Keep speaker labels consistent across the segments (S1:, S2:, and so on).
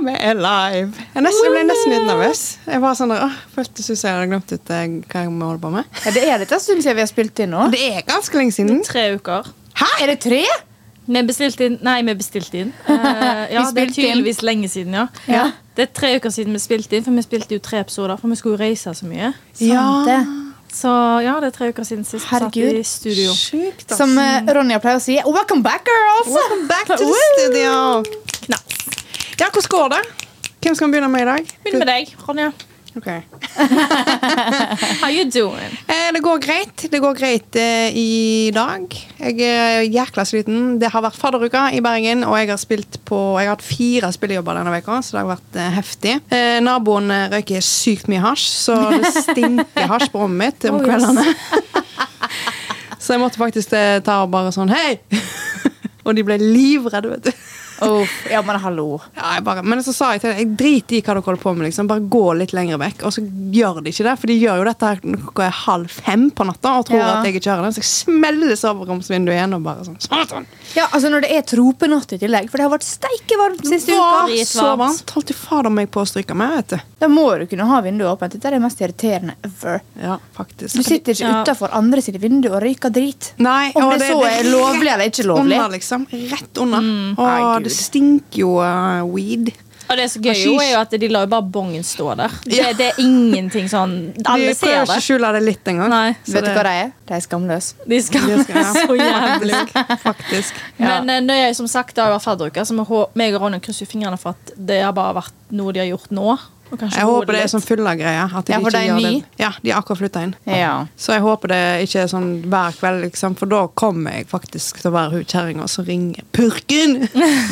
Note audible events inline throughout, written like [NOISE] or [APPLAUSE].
S1: alive! Jeg, nesten, jeg ble nesten litt nervøs. Jeg var sånn, der, åh, Føltes ut som jeg hadde glemt ut eh, hva jeg må holde på med.
S2: Ja, det er litt en stund siden vi har spilt inn nå.
S1: Det er ganske lenge siden.
S3: Tre uker.
S2: Er det tre?
S3: Vi bestilte inn Nei, vi bestilte [LAUGHS] inn. Eh, ja,
S2: Vi
S3: det er
S2: spilte inn.
S3: tydeligvis lenge siden, ja.
S2: Ja.
S3: Det er tre uker siden vi spilte inn, for vi spilte jo tre episoder. For vi skulle jo reise så mye.
S2: Sant det.
S3: Så ja, det er tre uker siden sist vi satt
S2: Herregud.
S3: i studio.
S1: Sjukt, ass.
S2: Som eh, Ronja pleier å si. Welcome back, girls!
S1: Welcome back to the studio!
S3: Knaps.
S1: Ja, hvordan går det? Hvem skal begynne med i dag?
S3: Begynn med deg, Ronja.
S1: Ok.
S3: How you doing?
S1: Eh, det går greit. Det går greit eh, i dag. Jeg er jækla sliten. Det har vært fadderuka i Bergen, og jeg har spilt på Jeg har hatt fire spillejobber denne uka, så det har vært eh, heftig. Eh, naboen eh, røyker sykt mye hasj, så det stinker hasj på rommet mitt om
S3: Oh, yes.
S1: kveldene. [LAUGHS] så jeg måtte faktisk eh, ta og bare sånn Hei! [LAUGHS] og de ble livredde, vet du.
S2: Uff, ja, men hallo.
S1: Ja, jeg bare, men så sa jeg til dem, jeg driter i hva dere holder på med, liksom. bare gå litt lenger vekk. Og så gjør de ikke det, for de gjør jo dette her klokka er halv fem på natta og tror
S2: Ja.
S1: at jeg ikke hører det. Så jeg smeller soveromsvinduet igjen og bare sånn. sånn, sånn.
S2: Ja, altså Når det er tropenatt i tillegg, for det har vært steike varmt siste
S1: Det var
S2: uka.
S1: så varmt. Holdt jo fader meg på å stryke meg, vet du.
S2: Da må du kunne ha vinduet åpent. Dette er det mest irriterende ever.
S1: Ja, faktisk.
S2: Du sitter ikke
S3: Ja.
S2: utenfor andre sitt vindu og røyker drit.
S1: Nei,
S2: Om
S1: og
S2: det, så er
S1: rett
S2: lovlig eller ikke lovlig. Mm.
S1: Under, liksom. Rett under.
S2: Nei,
S1: Og
S2: Gud.
S1: det stinker jo eh, weed.
S3: Og det som er så gøy jo er jo at de lar jo bare bongen stå der. Det,
S1: Ja.
S3: det er ingenting sånn [LAUGHS]
S1: De
S3: Alle
S1: prøver
S3: ser
S1: ikke
S3: det.
S1: å skjule det litt engang.
S3: Nei.
S1: Så
S2: Vet du
S1: det-
S2: [LAUGHS] hva de er? De er skamløse.
S3: De skal
S1: Det skal jeg ha.
S3: så jævlig.
S1: Faktisk.
S2: Ja.
S3: Men eh, når jeg som sagt da har vært fadderuke, så må hå- meg og Ronja krysse jo fingrene for at det har bare vært noe de har gjort nå. Og kanskje
S1: Jeg
S3: hodet
S1: håper det er
S3: litt.
S1: sånn fulla-greie. at de
S2: Ja, for
S1: ikke
S2: de er
S1: gjør
S2: ny.
S1: det. Ja, de har akkurat flytta inn.
S2: Ja.
S1: Så jeg håper det ikke er sånn hver kveld, liksom, for da kommer jeg faktisk til å være hun kjerringa som ringer purken!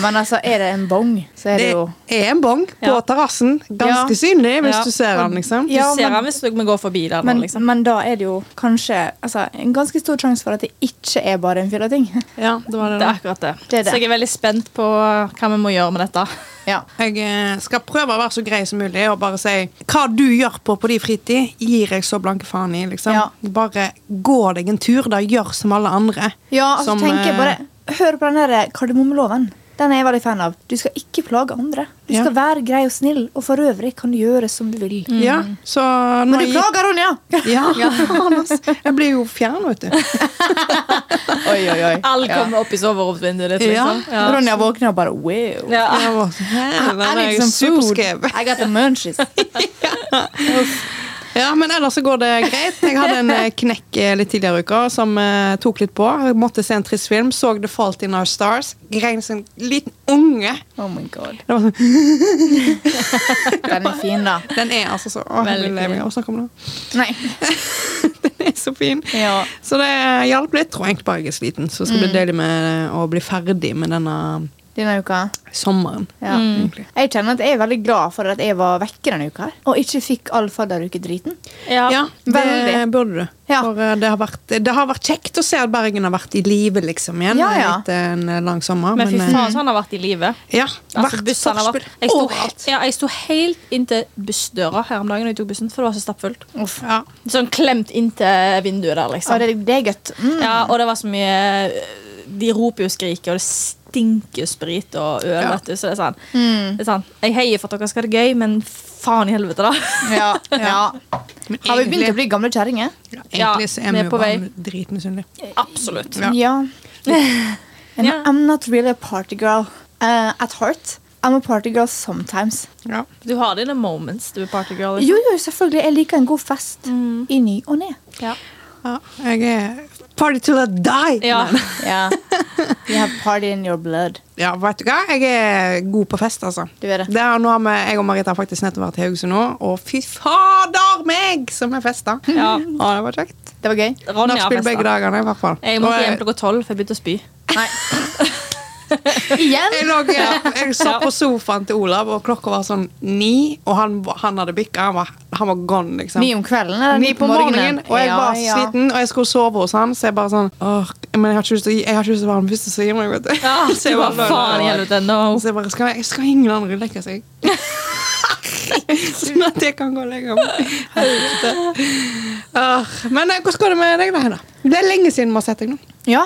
S2: Men altså, er det en bong, så er det,
S1: Det
S2: jo
S1: er en bong på
S3: Ja.
S1: terrassen. Ganske
S2: Ja.
S1: synlig hvis
S3: Ja.
S1: du ser den, liksom.
S3: Du
S2: Ja,
S3: ser
S2: men-
S3: han hvis vi går forbi der nå,
S2: men,
S3: liksom.
S2: men da er det jo kanskje altså, en ganske stor sjanse for at det ikke er bare en fylleting.
S1: Ja, det var det.
S3: Det
S1: da.
S3: er akkurat det.
S2: Det er det.
S3: Så jeg er veldig spent på hva vi må gjøre med dette.
S2: Ja.
S1: Jeg eh, skal prøve å være så grei som mulig og bare si hva du gjør på på din fritid, gir jeg så blanke faen i. liksom.
S2: Ja.
S1: Bare gå deg en tur, da. Gjør som alle andre.
S2: Ja, altså
S1: Som,
S2: tenker jeg
S1: eh,
S2: bare Hør på den her kardemommeloven. Den er jeg veldig fan av. Du skal ikke plage andre. Du
S1: Ja. Mm.
S2: skal være grei og snill, og for øvrig kan du gjøre som du vil.
S1: Ja, så nå
S2: Mm. Men du klager, Ronja!
S1: Ja. [LAUGHS]
S2: [LAUGHS]
S1: jeg blir jo fjern, vet du.
S2: Oi, oi, [LAUGHS] oi.
S3: Alle
S2: Ja.
S3: kommer opp i soveromsvinduet ditt,
S1: Ja.
S3: liksom. Ja.
S2: Ronja våkner og bare wow.
S3: Ja. liksom
S1: Jeg var sånn, helvete,
S2: I
S1: jeg
S2: need
S1: er
S2: some food.
S1: superskev.
S2: I got the munchies.
S1: Ja, men ellers så går det greit. Jeg hadde en eh, knekk eh, litt tidligere i uka som eh, tok litt på. Jeg måtte se en trist film. Så The Fault in Our Stars. Grein som en liten unge.
S2: Oh my god.
S1: Det var sånn,
S2: Den er fin, da.
S1: den er altså så Å, jeg
S3: Veldig
S1: blir lei meg
S3: fin.
S1: av å snakke om det.
S2: Nei.
S1: [LAUGHS] Den er så fin.
S2: Ja.
S1: Så det hjalp litt. Tror jeg egentlig bare jeg er sliten. Så det skal
S3: Mm.
S1: bli deilig med å bli ferdig med denne
S2: Denne uka.
S1: sommeren.
S2: Ja.
S1: egentlig.
S2: Jeg kjenner at jeg er veldig glad for at jeg var vekke denne uka her, og ikke fikk all fadderukedriten.
S3: Ja.
S1: Ja, det
S2: veldig.
S1: burde du.
S2: Ja.
S1: For eh, det har, vært, det har vært kjekt å se at Bergen har vært i live liksom igjen
S2: Ja, ja.
S1: etter en eh, lang sommer.
S3: Men fy
S1: eh,
S3: faen, så han har vært i live.
S1: Ja,
S3: Altså,
S1: vært
S3: bussen har vært
S1: forspill
S3: jeg sto,
S1: overalt.
S3: ja, jeg sto helt inntil bussdøra her om dagen da jeg tok bussen, for det var så stappfullt.
S1: Ja.
S3: Sånn klemt inntil vinduet der, liksom.
S2: Så det, det er godt. Mm.
S3: Ja, og det var så mye eh, De roper jo og skriker, og det stinker sprit og øl.
S1: Ja.
S3: Vet du, så det er sånn. Det er sånn. Jeg heier for at dere skal ha det gøy, men faen i helvete, da.
S2: Ja, [LAUGHS] ja.
S1: Men
S2: Har vi begynt å
S1: egentlig,
S2: bli gamle kjerringer?
S1: egentlig så er vi
S3: vi er
S1: jo
S3: på
S1: bare
S3: vei.
S1: dritmisunnelige.
S3: Absolutt.
S1: Ja.
S2: [LAUGHS] And
S3: Ja.
S2: I'm not really a party girl uh, at heart. I'm a party girl sometimes.
S1: Ja.
S3: Du har dine moments, du er partygirl. liksom.
S2: Jo, jo, selvfølgelig. Jeg liker en god fest i ny og ne.
S3: Ja.
S1: Ja, jeg er party till I die!
S3: Ja.
S1: Men-
S3: [LAUGHS]
S2: Ja. You have party in your blood.
S1: ja, vet du hva? Jeg er god på fest, altså.
S2: Du er det.
S1: Det er, nå har vi, jeg og Marita har faktisk nettopp vært i Haugesund nå, og fy fader meg som jeg festa!
S3: Ja.
S1: det var kjekt.
S2: Det var gøy.
S3: Ronja har
S1: Nachspiel begge
S3: festa.
S1: dagene, i hvert fall.
S3: Jeg måtte
S1: Og
S3: hjem klokka tolv, for jeg begynte å spy.
S2: Nei. Igjen?
S1: Jeg, lå, ja, jeg så på sofaen til Olav, og klokka var sånn ni, og han, han hadde bikka. Han, var- han var gone, liksom.
S2: Ni om kvelden eller
S1: Ni på morgenen, og jeg
S2: Ja,
S1: var
S2: ja.
S1: sliten, og jeg skulle sove hos han, så jeg bare sånn Åh, men jeg har ikke lyst til å, gi- jeg har ikke lyst til å være den første som gir meg, vet du.
S3: [LAUGHS] Ja,
S1: [LAUGHS] Så jeg
S3: du
S1: bare
S3: bare,
S1: lå der
S3: faen i
S1: og-
S3: helvete, no.
S1: Så jeg bare Skal, jeg, skal ingen andre legge seg? [LAUGHS] sånn at jeg kan gå og legge meg. Helvete. Åh, Men eh, hvordan går det med deg, da? Hedda? Det er lenge siden vi har sett deg nå.
S2: Ja,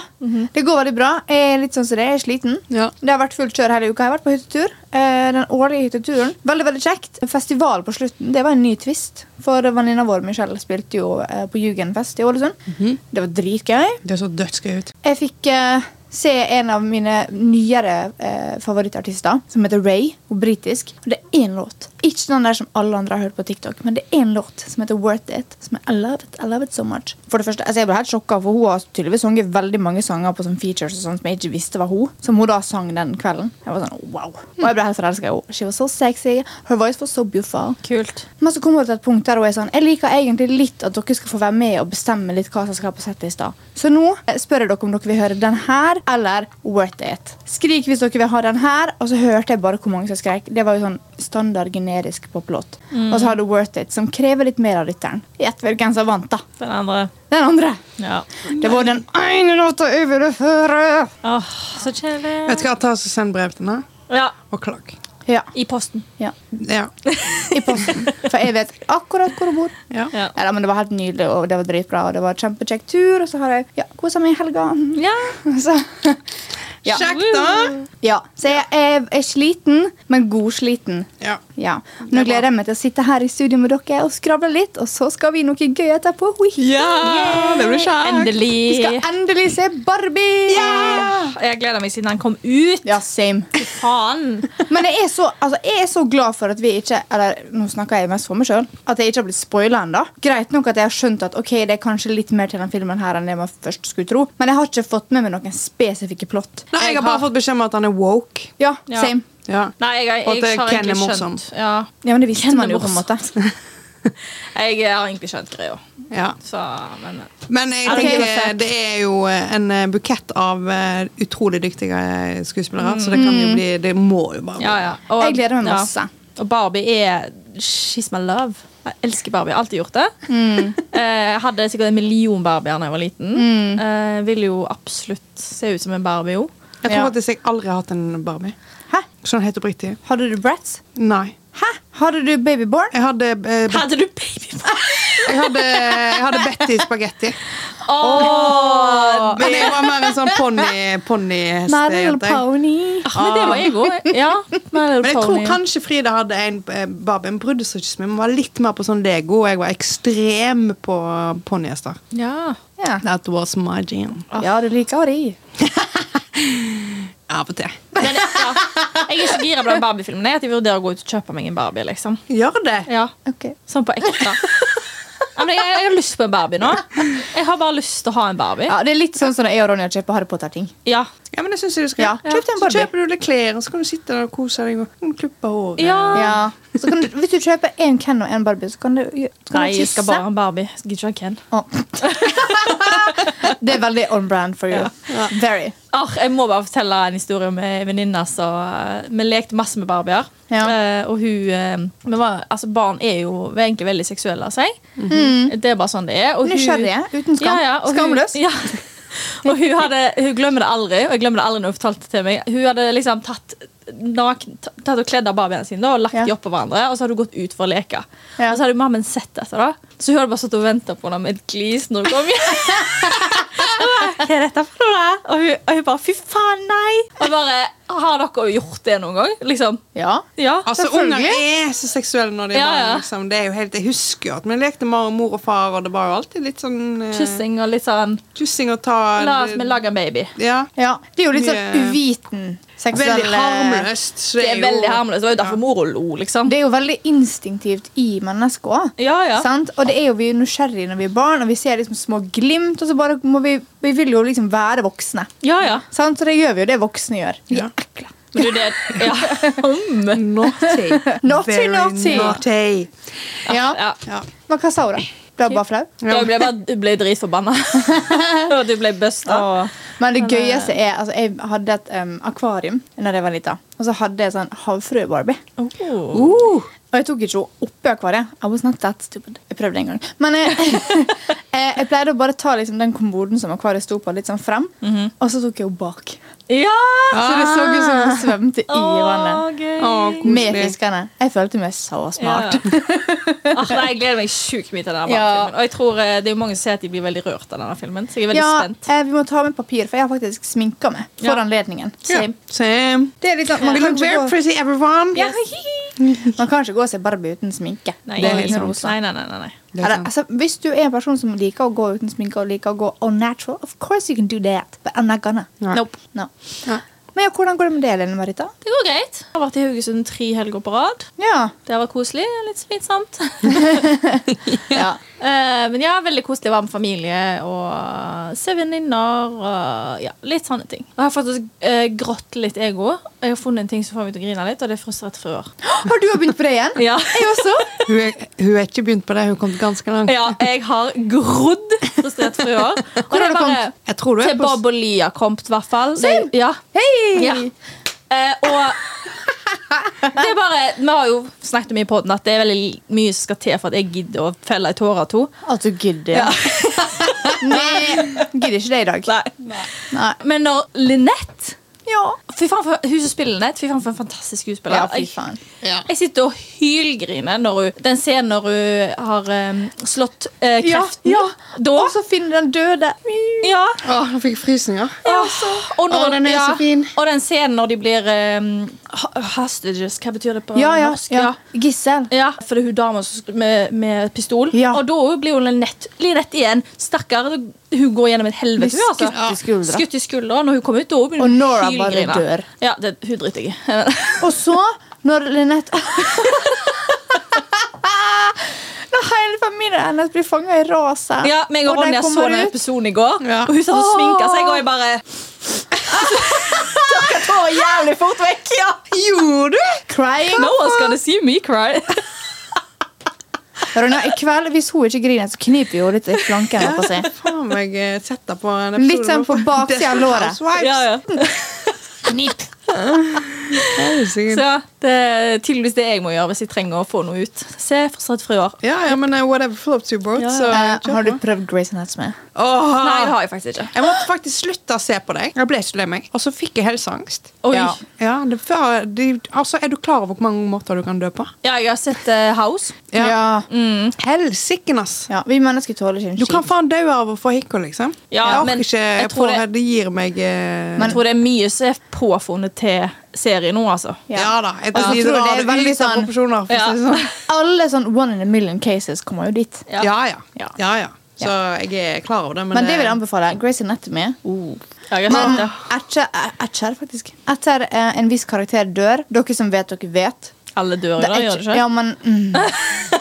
S2: det går veldig bra. Jeg er litt sånn som det, jeg er sliten.
S1: Ja.
S2: Det har vært fullt kjør hele uka. Jeg har vært på hyttetur. Eh, Den årlige hytteturen. Veldig veldig kjekt. Festival på slutten, det var en ny twist. For venninna vår Michelle spilte jo eh, på Jugendfest i Ålesund. Det var dritgøy.
S1: Det så dødsgøy ut.
S2: Jeg fikk eh, se en av mine nyere eh, favorittartister, som heter Ray. Hun er britisk. Og det er én låt. Ikke den der som alle andre har hørt på TikTok, men det er én låt som heter Worth It. Som jeg I love it, I love it so much. For det første, altså Jeg ble helt sjokka, for hun har tydeligvis sunget veldig mange sanger på sånn features og sånn som jeg ikke visste var hun, som hun da sang den kvelden. Jeg var sånn, wow. Og jeg ble helt forelska i henne. She was so sexy. Her voice was so beautiful.
S3: Kult.
S2: Men så kommer hun til et punkt der hun er sånn Jeg liker egentlig litt at dere skal få være med og bestemme litt hva som skal på settet i stad. Så nå eh, spør jeg dere om dere vil høre den her eller Worth It. Skrik hvis dere vil ha den her. Og så hørte jeg bare hvor mange som skreik. Det var jo sånn standard generisk poplåt. Og så har du Worth It, som krever litt mer av lytteren. Gjett hvilken som vant, da.
S3: Den andre.
S2: Den andre.
S3: Ja.
S2: Det var den ene låta jeg ville høre.
S3: Åh, så kjedelig.
S1: Vet du hva, ta oss og Send brev til henne
S3: Ja,
S1: og klag.
S2: Ja.
S3: I posten.
S2: ja.
S1: Ja.
S2: I posten. For jeg vet akkurat hvor hun bor.
S1: ja.
S3: Ja.
S2: Neida, men Det var helt nydelig, og det var dritbra. Og det var kjempekjekk tur, og så har jeg ja, kosa meg i helga.
S3: ja.
S2: [LAUGHS] Så, ja.
S1: Kjekt, da!
S2: ja. så jeg er, er sliten, men godsliten.
S1: Ja.
S2: Ja. Nå gleder jeg meg til å sitte her i studio med dere og skravle litt, og så skal vi noe gøy etterpå. Hui.
S1: Ja, det blir kjekt.
S2: Vi skal
S3: Endelig.
S2: endelig se Barbie!
S3: Ja. Jeg gleder meg siden den kom ut.
S2: Ja, same.
S3: Faen.
S2: Men jeg er, så, altså, jeg er så glad for at vi ikke Eller nå snakker jeg mest for meg selv At jeg ikke har blitt spoila ennå. Greit nok at jeg har skjønt at ok, det er kanskje litt mer til den filmen her enn det man først skulle tro, men jeg har ikke fått med meg noen spesifikke plott.
S1: Nei, jeg har bare fått beskjed om at han er woke.
S2: Ja,
S3: Ja.
S2: same.
S1: Ja.
S3: Nei, jeg, jeg,
S1: Og at
S3: jeg,
S1: Ken
S3: har
S1: er
S3: egentlig
S1: morsom.
S3: skjønt ja.
S2: Ja, men det visste
S3: Kjenner
S2: man jo på en måte.
S1: [LAUGHS]
S3: Jeg har egentlig skjønt greia.
S1: Ja.
S3: Så, men
S1: Men jeg
S2: Ok,
S1: tenker,
S2: det var fett.
S1: det er jo en eh, bukett av eh, utrolig dyktige eh, skuespillere, så det kan jo bli Det må jo bare bli.
S3: ja, ja. Og,
S2: Jeg gleder meg masse.
S3: Ja. Og Barbie er She's my love. Jeg elsker Barbie. Jeg har alltid gjort det.
S1: Mm.
S3: [LAUGHS] Eh, Jeg hadde sikkert en million Barbier da jeg var liten.
S1: Mm.
S3: Eh, Ville jo absolutt se ut som en Barbie òg.
S1: Jeg tror
S2: Ja.
S1: faktisk jeg aldri har hatt en Barbie.
S2: Hæ?
S1: Sånn helt oppriktig.
S2: Hadde du Bratz?
S1: Nei.
S2: Hæ? Hadde du Babyborn?
S1: Jeg hadde, eh, bet-
S3: Hadde du baby?
S1: jeg hadde, jeg hadde Betty spagetti.
S3: Åh!
S1: Men jeg var mer en sånn ponni- eh,
S2: My little
S1: ponnihestejente. jeg.
S2: pony.
S3: Ah, Men det var jeg
S1: [LAUGHS]
S3: òg. Ja.
S1: Men jeg tror kanskje Frida hadde en eh, Barbie. Hun brydde seg ikke så mye. Hun var litt mer på sånn Lego, og jeg var ekstrem på ponnihester.
S3: ja.
S2: Ja.
S1: That was my jam.
S2: ja, du liker å ri.
S1: Av og til.
S3: Den, ja. Jeg er så gira på den Barbie-filmen jeg, at jeg vurderer å gå ut og kjøpe meg en Barbie. liksom
S1: Gjør det.
S3: Ja,
S2: Ok.
S3: Sånn på ekte. Ja, men jeg, jeg har lyst på en Barbie nå. Jeg har bare lyst til å ha en Barbie.
S2: Ja, Det er litt sånn som når jeg og Ronja kjøper Harry Potter-ting.
S3: Ja,
S1: Ja, men det synes jeg du skal.
S2: Ja, kjøp deg en
S1: så
S2: Barbie.
S1: kjøper du deg klær, og så kan du sitte der og kose deg og klippe håret.
S3: Ja.
S2: Ja. Så kan du, hvis du kjøper én Ken og én Barbie, så kan du, så kan
S3: Nei,
S2: du
S3: jeg
S2: kysse.
S3: skal bare ha en Barbie. Jeg skal ikke ha en Ken.
S2: Å. [LAUGHS] det er veldig on brand for you. Very.
S3: Arr, Ah, jeg må bare fortelle en historie om ei venninne. som- Vi lekte masse med barbier.
S2: Ja.
S3: Eh, og hun eh, vi var, altså Barn er jo vi er egentlig veldig seksuelle av seg. Det er bare sånn det er. Og hun-
S2: Nysgjerrige, uten skam.
S3: Ja, ja, og hun-
S2: Skamløs.
S3: Ja. [LAUGHS] Og hun, hadde, hun glemmer det aldri, og jeg glemmer det aldri når hun fortalte det til meg. Hun hadde liksom tatt, naken, tatt og kledd av barbiene sine da, og lagt
S2: Ja.
S3: dem oppå hverandre, og så hadde hun gått ut for å leke.
S2: Ja.
S3: Og så hadde mammen sett dette, da. Så hun hadde bare stått og venta på henne med et glis når hun kom hjem. [LAUGHS] Hva er dette for noe? da? Og hun, og hun bare Fy faen, nei! Og bare Har dere gjort det noen gang? Liksom.
S2: Ja.
S3: Ja.
S1: Altså, Unger
S2: Selvfølgelig.
S1: er så seksuelle når de er
S3: Ja,
S1: barn.
S3: ja.
S1: Liksom. Det er jo helt, jeg husker jo at vi lekte mor, mor og far, og det var jo alltid litt sånn eh,
S3: Kyssing og litt sånn
S1: kyssing og ta
S3: La oss vi lage en baby.
S1: ja.
S2: ja. Det er jo litt sånn
S1: Mye-
S2: uviten seksuell
S1: Veldig harmløst. så
S3: Det er veldig
S1: jo-
S3: harmløst. Det var jo derfor mora lo, liksom.
S2: Det er jo veldig instinktivt i mennesket òg.
S3: Ja, ja.
S2: Sant? Og det er jo vi er nysgjerrige når vi er barn, og vi ser liksom små glimt. Og så bare må vi, vi vil jo liksom være voksne.
S3: ja, ja.
S2: Sant? Så det gjør vi jo det voksne gjør. Vi
S1: Ja.
S2: er ekle.
S3: Men du, det [LAUGHS] ja. Om.
S1: Naughty.
S2: Naughty,
S1: Very
S2: naughty.
S1: naughty.
S2: Ja.
S3: Ja.
S1: Ja.
S2: Men hva sa hun, da? Ble hun bare flau?
S3: Da ble jeg bare, du ble dritforbanna. [LAUGHS] Og du ble busta.
S2: Men det gøyeste er altså, Jeg hadde et um, akvarium da jeg var lita, og så hadde jeg sånn havfrue-Barbie.
S3: Oh.
S1: Uh,
S2: Og Og jeg tok ikke henne oppi akvariet. I was not that stupid. Jeg prøvde en gang. Men eh, [LAUGHS] eh, jeg pleide å bare ta liksom, den kommoden som akvariet sto på, litt sånn frem. Og så tok jeg henne bak.
S3: Ja!
S2: Så det så ut som hun svømte i vannet.
S3: gøy.
S1: Å, koselig.
S2: Med fiskene. Jeg følte meg så smart.
S3: Ja. [LAUGHS] Ah, nei, jeg gleder meg sjukt mye til denne
S2: Ja.
S3: filmen. Og jeg tror eh, det er jo mange som sier at de blir veldig rørt av denne filmen. Så jeg er veldig
S2: Ja,
S3: spent.
S2: eh, vi må ta med papir, for jeg har faktisk sminka meg for
S3: Ja.
S2: anledningen.
S1: Ja.
S2: Same.
S1: Same.
S2: Det er litt sånn, man,
S1: You
S2: kan
S1: look
S2: ikke
S1: very
S2: gå,
S1: pretty, everyone.
S3: Ja, hi-hi.
S2: man kan ikke gå og se Barbie uten sminke.
S3: [LAUGHS] Nei,
S1: Det er helt sant.
S3: nei, nei, nei, nei, nei.
S1: Det er
S2: Eller,
S1: sant.
S2: altså, hvis du er en person som liker å gå uten sminke og liker å gå all natural, of course you can do that, but I'm not gonna.
S1: Nei.
S2: Nope. No.
S1: Nei.
S2: Men ja, hvordan går det med det, Lene Marita?
S3: Det går greit. Jeg har vært i Haugesund tre helger på rad.
S2: Ja.
S3: Det var koselig. Litt slitsomt. [LAUGHS]
S2: ja. [GASPS]
S3: Eh, men ja, veldig koselig å være med familie og se venninner og ja, litt sånne ting. Og jeg har faktisk eh, grått litt ego. Jeg har funnet en ting som får meg til å grine litt, og det er frustrert frøer.
S2: Har du også begynt på det igjen?
S3: Ja. [LAUGHS]
S2: Jeg også.
S1: Hun, er, hun er ikke begynt på det, hun kom ganske langt.
S3: ja, jeg har grodd frustrert [LAUGHS] frøer. Og
S2: Hvor har du
S3: det er bare
S2: kommet?
S1: Jeg tror du er
S3: til
S1: på
S3: Bob og Lia kommet, i hvert fall. Det- Ja.
S2: Hei!
S3: Ja.
S2: [LAUGHS]
S3: Eh, og det er bare, Vi har jo snakket mye på den at det er veldig mye som skal til for at jeg gidder å felle en tåre av to.
S2: At du gidder. Ja. [LAUGHS] Nei, gidder ikke det i dag.
S3: Nei.
S2: Nei.
S3: Men når Linette
S2: Ja.
S3: Fy faen, for, hun som spiller Linette, fy faen for en fantastisk skuespiller.
S2: Ja, fy faen.
S3: Jeg, jeg sitter og hylgriner når hun, den scenen når hun har eh, slått eh,
S2: Ja,
S3: kreften.
S2: ja. Altså,
S3: Da,
S2: Og så finner den døde.
S3: ja.
S1: Å, nå fikk jeg frysninger.
S3: Ja. Og,
S1: Å, den er så fin.
S3: og den scenen når de blir eh, ha- hostages. Hva betyr det på
S2: Ja, ja.
S3: norsk?
S2: ja. Gissel.
S3: Ja, for det er hun dama som skri- med, med pistol.
S2: Ja.
S3: Og da blir hun Linette Linette igjen. Stakkar. Hun går gjennom et helvete.
S2: Blir
S3: hun, altså.
S2: skutt i skuldra.
S3: Skutt i skuldra. Når hun kommer ut, da begynner
S2: Og
S3: hun
S2: Nora bare
S3: hylgrine.
S2: dør.
S3: Ja, det, hun driter jeg i.
S2: Og så, når Linette Når hele familien hennes blir fanga i raset.
S3: [LAUGHS] Ja, meg og
S2: de
S3: Ronja så
S2: kommer
S3: den
S2: ut.
S3: episoden i går,
S1: Ja.
S3: og hun satt og
S2: Åh.
S3: sminka seg, og jeg bare
S2: Jeg tar jævlig fort
S3: [LAUGHS]
S2: vekk! Ja.
S1: Gjorde du?
S2: Crying.
S3: No one's gonna see me cry. [LAUGHS]
S2: Ronja, i kveld, Hvis hun ikke griner, så kniper hun litt i flanken. holdt på å si.
S1: Faen meg eh, sette på en episode
S2: Litt sånn på
S1: [LAUGHS]
S2: baksida av låret.
S3: ja,
S2: [LAUGHS]
S3: ja. [LAUGHS]
S2: Knip.
S3: Så ja, det er tydeligvis det jeg må gjøre hvis jeg trenger å få noe ut. Se frustrert frøer.
S1: Ja, ja, men eh, whatever floats your boat,
S3: Ja, [LAUGHS] ja.
S1: så
S2: Eh,
S1: kjør
S2: har du
S1: på.
S2: prøvd Grace Anatomy?
S1: Åh.
S3: Nei, det har jeg faktisk ikke.
S1: Jeg måtte faktisk slutte å se på deg. Jeg ble så lei meg. Og så fikk jeg helseangst.
S3: Oi.
S1: Ja.
S3: Ja.
S1: Ja, det var, de, altså, er du klar over hvor mange måter du kan dø på?
S3: jeg har sett eh, House. Mm.
S1: Ja.
S2: Ja.
S1: Helsiken, ass!
S2: Ja, Vi mennesker tåler ikke en
S1: Du kan
S2: skit.
S1: faen dø av å få hikka, liksom.
S3: Ja,
S1: jeg orker
S3: men
S1: ikke. Jeg
S3: jeg tror
S1: får, det,
S3: det-
S1: gir meg eh,
S3: Jeg tror det er mye som er påfunnet til serien nå, altså.
S1: ja. da. Jeg
S2: Og så
S1: tror de
S2: tror jeg
S1: drar
S2: det
S1: det
S2: er veldig
S1: ut av
S2: sånn-
S1: proporsjoner. For
S3: Ja.
S1: å si det sånn.
S2: Alle sånn one in a million cases kommer jo dit.
S3: Ja.
S1: ja, ja.
S3: Ja.
S1: ja, ja. Så jeg er klar over det. Men, eh,
S2: Men det vil jeg anbefale. Grace Anatomy.
S3: Ja, jeg har
S2: Men
S3: sett det.
S2: etter, etter, faktisk Etter eh, en viss karakter dør Dere som vet, dere vet
S3: Alle dør i
S2: Det er
S3: dag, gjør det ikke?
S2: Ja, men mm.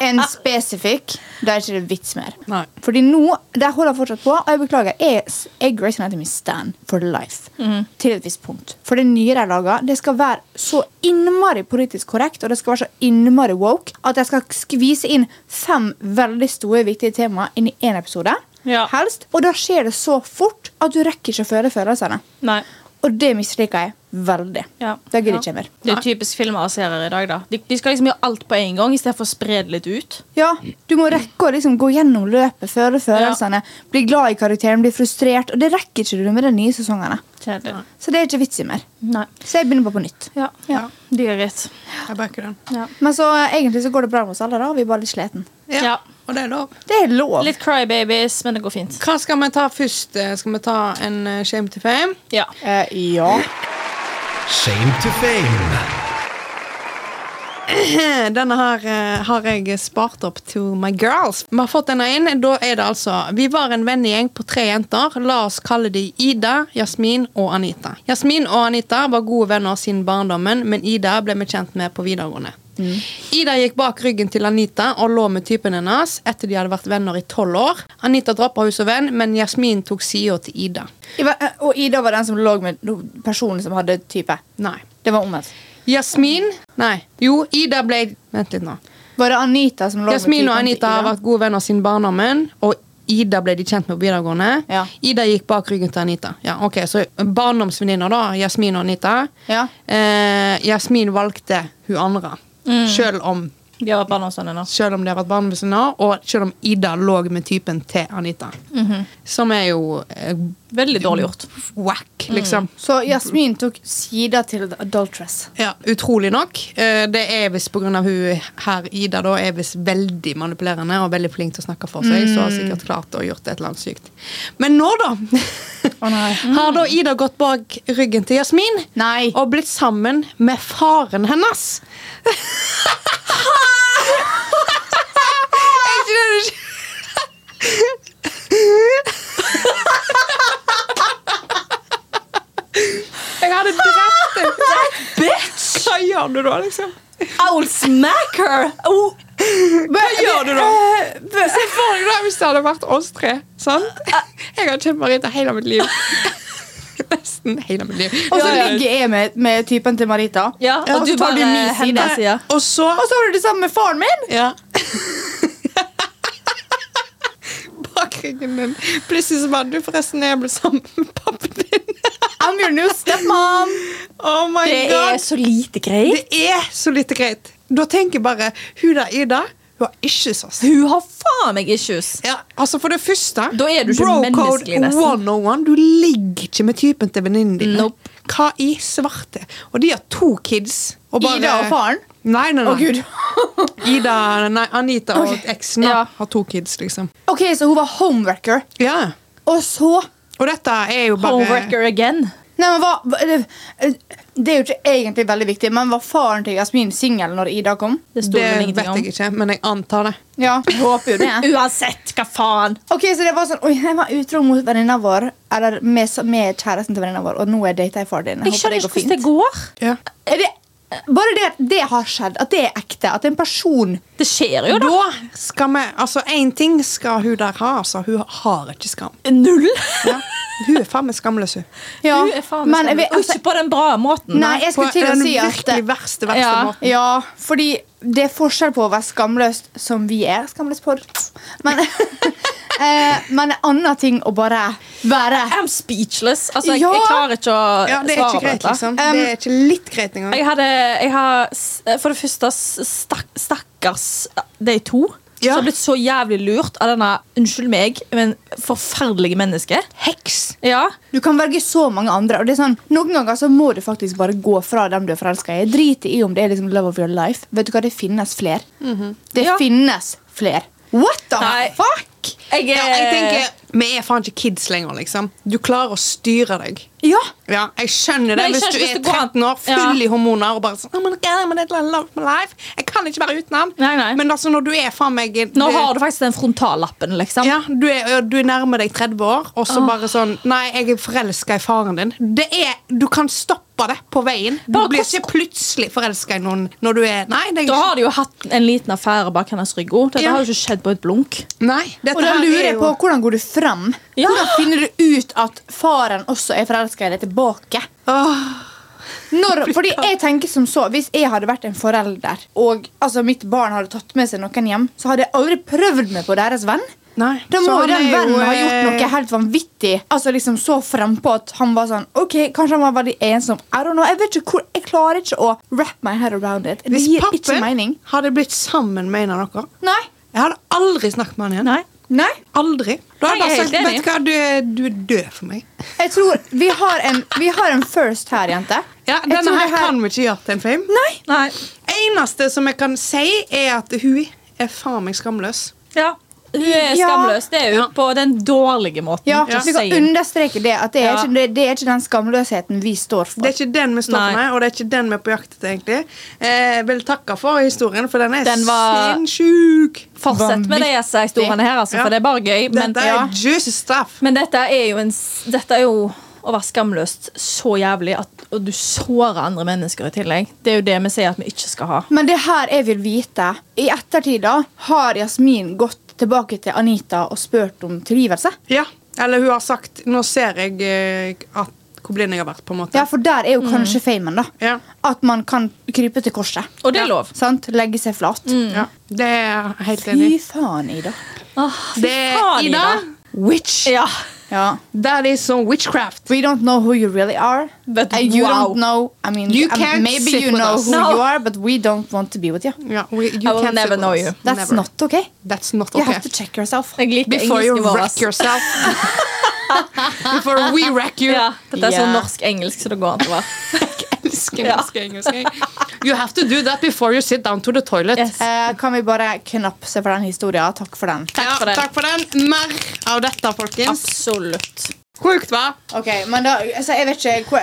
S2: En spesifikk Da er ikke det vits mer
S1: Nei.
S2: Fordi nå, der holder jeg fortsatt på Og jeg beklager, jeg, jeg Grey's Anatomy stand for life
S3: Mhm.
S2: Til et visst punkt For det nye de lager, det skal være så innmari politisk korrekt Og det skal være så innmari woke At jeg skal skvise inn fem veldig store, viktige temaer Inn i en episode
S3: Ja.
S2: Helst, og da skjer det så fort At du rekker ikke å føle følelsene
S3: Nei.
S2: og det misliker jeg veldig.
S3: Ja.
S2: Det gidder
S3: Ja.
S2: ikke jeg mer.
S3: Det er typisk filmer og serier i dag, da. De, de skal liksom gjøre alt på en gang, i stedet for å spre det litt ut.
S2: Ja, Du må rekke å liksom gå gjennom løpet, føle følelsene, bli glad i karakteren, bli frustrert. Og det rekker ikke du med de nye sesongene.
S3: Kjedelig.
S2: Så det er ikke vits i mer.
S3: Nei.
S2: Så jeg begynner bare på nytt.
S3: Ja. ja. Det er greit.
S1: Jeg backer den.
S2: Men så eh, egentlig så går det bra med oss alle, da. Vi er bare litt sliten.
S1: Ja.
S3: Ja.
S1: Og det er lov.
S2: Det er lov.
S3: Litt crybabies, men det går fint.
S1: Hva skal vi ta først? Eh, Skal vi ta en eh, shame to fame?
S3: Ja.
S2: Eh, ja.
S4: Shame to fame.
S1: Denne her eh, har jeg spart opp to my girls. Vi har fått denne inn. Da er det altså Vi var en vennegjeng på tre jenter. La oss kalle de Ida, Jasmin og Anita. Jasmin og Anita var gode venner siden barndommen, men Ida ble vi kjent med på videregående. Ida gikk bak ryggen til Anita og lå med typen hennes etter de hadde vært venner i tolv år. Anita droppa henne som venn, men Jasmin tok sida til Ida.
S2: I va- eh, Og Ida var den som lå med no- personen som hadde type.
S1: Nei.
S2: Det var omvendt.
S1: Jasmin Nei. Jo, Ida ble Vent litt nå.
S2: Var det Anita som lå med
S1: Jasmin
S2: typen
S1: og Anita har
S2: til Ida?
S1: vært gode venner siden barndommen. Og Ida ble de kjent med på videregående.
S2: Ja.
S1: Ida gikk bak ryggen til Anita. Ja, ok, Så barndomsvenninner, da. Jasmin og Anita.
S2: Ja.
S1: Eh, Jasmin valgte hun andre. Selv om
S3: De har vært barn og sånn ennå.
S1: selv om de har vært barn ved siden av, og selv om Ida lå med typen til Anita. Som er jo eh,
S3: Veldig dårlig gjort.
S1: whack, liksom.
S2: Så Jasmin tok sida til The Adultress.
S1: Ja, Utrolig nok. Eh, Det er visst pga. hun her, Ida, da, er visst veldig manipulerende og veldig flink til å snakke for seg. Så har hun sikkert klart å gjort et eller annet sykt. Men nå, da!
S2: nei.
S1: [LAUGHS] Har da Ida gått bak ryggen til Jasmin
S2: Nei.
S1: og blitt sammen med faren hennes? Er ikke det du- Jeg hadde drept deg! Bitch! Hva gjør du da, liksom?
S3: I will smack her! Oh,
S1: Hva gjør du da? Se for deg da hvis det hadde vært oss tre. Sant? Jeg har kjent Marita hele mitt liv. Nesten hele mitt liv.
S2: Og så
S3: Ja, ja.
S2: ligger jeg med, med typen til Marita. Eh,
S3: ja,
S1: Ja,
S3: og du
S2: så tar
S3: bare
S2: du min side.
S3: hennes side.
S1: Og så
S2: Og så var du det samme med faren min!
S1: [LAUGHS] Ja. Bakryggen din. Plutselig så bare Du, forresten, jeg ble sammen med pappaen din.
S2: I'm your new stepmom!
S1: Oh my
S3: Det er
S1: god.
S3: så lite greit.
S1: Det er så lite greit. Da tenker jeg bare Hun der Ida, hun har ikke sås.
S3: Hun har faen meg issues.
S1: Ja, altså For det første
S3: Da er du ikke menneskelig, nesten.
S1: 101. Du ligger ikke med typen til venninnen din.
S3: Nope.
S1: Hva i svarte? Og de har to kids. Og bare-
S2: Ida og faren.
S1: Nei, nei, nei.
S2: Å, Gud.
S1: Ida, nei, Anita og eksen da,
S2: Ja.
S1: har to kids, liksom.
S2: Ok, Så hun var homewrecker.
S1: Ja.
S2: Og så
S1: Og dette er jo bare
S3: Homewrecker again.
S2: Nei, men hva, hva- det, det er jo ikke egentlig veldig viktig, men var faren til Jasmin singel når Ida kom?
S3: Det sto
S1: Det
S3: det
S1: vet
S3: ingenting om.
S1: jeg ikke, men jeg antar det.
S2: Ja, jeg håper jo det.
S3: [LAUGHS] Uansett, hva faen?
S2: Ok, Så det var sånn Oi, jeg var utro mot venninna vår, eller med, med kjæresten til venninna vår, og nå er jeg data i faren din. Jeg,
S3: Jeg
S2: håper det går
S3: skjønner ikke hvordan det
S2: fint.
S3: går.
S1: Ja.
S2: Er det, bare det at det har skjedd, at det er ekte, at en person
S3: Det skjer jo, da.
S1: Da skal vi Altså, én ting skal hun der ha, altså. Hun har ikke skam.
S3: Null.
S1: Ja. Hun er faen meg skamløs, hun.
S2: Ja,
S3: Du er faen
S2: men jeg
S3: meg skamløs.
S2: vet-
S1: altså-
S3: Og ikke på den bra måten.
S2: Nei, jeg skulle
S1: På
S2: til å
S1: den
S2: si at
S1: virkelig verste, verste
S3: Ja.
S1: måten.
S2: Ja, fordi det er forskjell på å være skamløst som vi er skamløst for. Men, [LAUGHS] eh, men en annen ting å bare være.
S3: I'm speechless. Altså, jeg,
S2: Ja.
S3: jeg klarer ikke å
S1: Ja, det er
S3: svare
S1: ikke
S3: på
S1: greit,
S3: dette.
S1: liksom.
S2: Um,
S1: det er ikke litt greit engang.
S3: Jeg hadde, jeg har, s- for det første, s- stakk, stakkars de to
S1: Ja.
S3: som har blitt så jævlig lurt av denne unnskyld meg, men forferdelige mennesket.
S1: Heks!
S3: Ja.
S2: Du kan velge så mange andre. Og det er sånn, Noen ganger så må du faktisk bare gå fra dem du er forelska i. Drit i om det er liksom love of your life. Vet du hva, Det finnes flere. Det
S3: Mhm. Ja.
S2: finnes flere. What the
S3: Nei.
S2: fuck?
S3: Jeg,
S1: Ja,
S3: er-
S1: jeg tenker, Vi er faen ikke kids lenger, liksom. Du klarer å styre deg.
S2: Ja.
S1: Ja, jeg skjønner det
S3: Men jeg
S1: hvis
S3: skjønner
S1: du
S3: hvis
S1: er
S3: det går an.
S1: 13 år, full
S3: Ja.
S1: i hormoner og bare sånn oh my God, I'm in a love of my life. Jeg kan ikke være uten han.
S3: Nei, nei.
S1: Men altså, når du er faen meg
S3: Nå har du faktisk den frontallappen, liksom.
S1: ja, du, er, du er nærmer deg 30 år, og så bare sånn Nei, jeg er forelska i faren din. Det er, du kan stoppe det på veien. Du
S3: Bare
S1: blir
S3: hvordan-
S1: ikke plutselig forelska i noen når du er Nei, det er
S3: Da
S1: ikke,
S3: har de jo hatt en liten affære bak hennes rygg. også. Dette
S1: Ja.
S3: har jo ikke skjedd på et blunk.
S1: nei dette
S2: Og da
S1: her
S2: lurer
S1: er
S2: jeg
S1: jo-
S2: på hvordan går du fram?
S3: Ja.
S2: Hvordan finner du ut at faren også er forelska i deg tilbake?
S1: Åh,
S2: Når, fordi jeg tenker som så Hvis jeg hadde vært en forelder, og altså, mitt barn hadde tatt med seg noen hjem, så hadde jeg aldri prøvd meg på deres venn.
S1: Nei,
S2: Da
S1: så
S2: må
S1: han
S2: jo den
S1: er jo,
S2: vennen ha gjort
S1: eh,
S2: noe helt vanvittig. Altså liksom Så frempå at han var sånn Ok, Kanskje han var veldig ensom. I don't know, Jeg vet ikke hvor Jeg klarer ikke å wrap my head around it. Det
S1: Hvis
S2: gir ikke
S1: pappen
S2: mening.
S1: hadde blitt sammen med en av dere
S2: Nei.
S1: Jeg hadde aldri snakket med han igjen.
S3: Nei.
S2: Nei.
S1: Aldri. Da hadde
S3: Nei,
S1: jeg
S3: jeg er
S1: sagt Vet
S3: helt
S1: du hva, du, er- du er død for meg.
S2: Jeg tror Vi har en, vi har en first her, jente.
S1: Ja,
S2: Jeg
S1: Denne
S2: tror
S1: her
S2: det
S1: kan vi ikke gjøre til en fame.
S2: Nei.
S3: Nei.
S1: Eneste som jeg kan si, er at hun er faen meg skamløs.
S3: Ja. Hun er
S2: Ja.
S3: skamløs. Det er hun
S1: Ja.
S3: på den dårlige måten.
S2: Ja,
S3: Just
S2: Vi kan
S3: saying.
S2: understreke det. At det er,
S3: Ja.
S2: ikke, det, det er ikke den skamløsheten vi står for.
S1: Det er ikke den vi står
S3: Nei.
S1: for, med, og det er ikke den vi er på jakt etter. egentlig. Eh, vil takke for historien, for den er
S3: Den var-
S1: sinnssyk.
S3: Fortsett med disse historiene her, altså,
S1: Ja.
S3: for det er bare gøy. Men,
S1: Dette er
S3: ja.
S1: juicy stuff.
S3: men dette er jo en s- Dette er jo å være skamløst så jævlig at og du sårer andre mennesker i tillegg. Det er jo det vi sier at vi ikke skal ha.
S2: Men det her jeg vil vite I ettertid da har Jasmin gått tilbake til Anita og spurt om tilgivelse.
S1: Ja, Eller hun har sagt Nå ser jeg eh, at, hvor blind jeg har vært, på en måte.
S2: Ja, For der er jo kanskje famen. da
S1: Mm. Ja.
S2: At man kan krype til korset.
S3: Og det er lov.
S2: Sant? Legge seg flat.
S3: Mm.
S1: Ja, Mm, det er jeg helt enig
S2: Fy
S1: i.
S2: faen, Ida.
S3: Åh, fy
S1: Det er
S3: faen,
S1: Ida. Witch.
S3: Ja.
S2: Ja.
S1: That is some witchcraft.
S2: We don't know who you really are.
S3: But
S2: and you
S3: wow.
S2: don't know. I mean,
S1: You
S2: I mean,
S1: can't
S2: maybe
S1: sit
S2: you
S1: with
S2: know
S1: us.
S2: who
S3: No.
S2: you are, but we don't want to be with you.
S1: Yeah, we, you
S3: I will
S1: can't
S3: never
S1: sit with
S3: know
S1: us.
S3: you.
S2: That's
S1: Never.
S2: not okay.
S1: That's not
S2: You
S1: okay.
S2: have to check yourself.
S3: Jeg liker
S1: Before you
S3: engelsken vår.
S1: wreck
S3: ass. [LAUGHS]
S1: yourself. Before we wreck you.
S3: Ja, dette er sånn
S2: Ja.
S3: norsk-engelsk som det går an til å være.
S1: Elsker, elsker, elsker. You have to do that before you sit down to the toilet.
S3: Yes.
S2: Eh, kan vi bare knapse for den historien? Takk for den.
S3: Takk for
S1: ja,
S3: det.
S1: takk for den. Mer av dette, folkens.
S3: Absolutt.
S1: Sjukt, hva?
S2: Ok, men da, altså, jeg vet ikke hvor,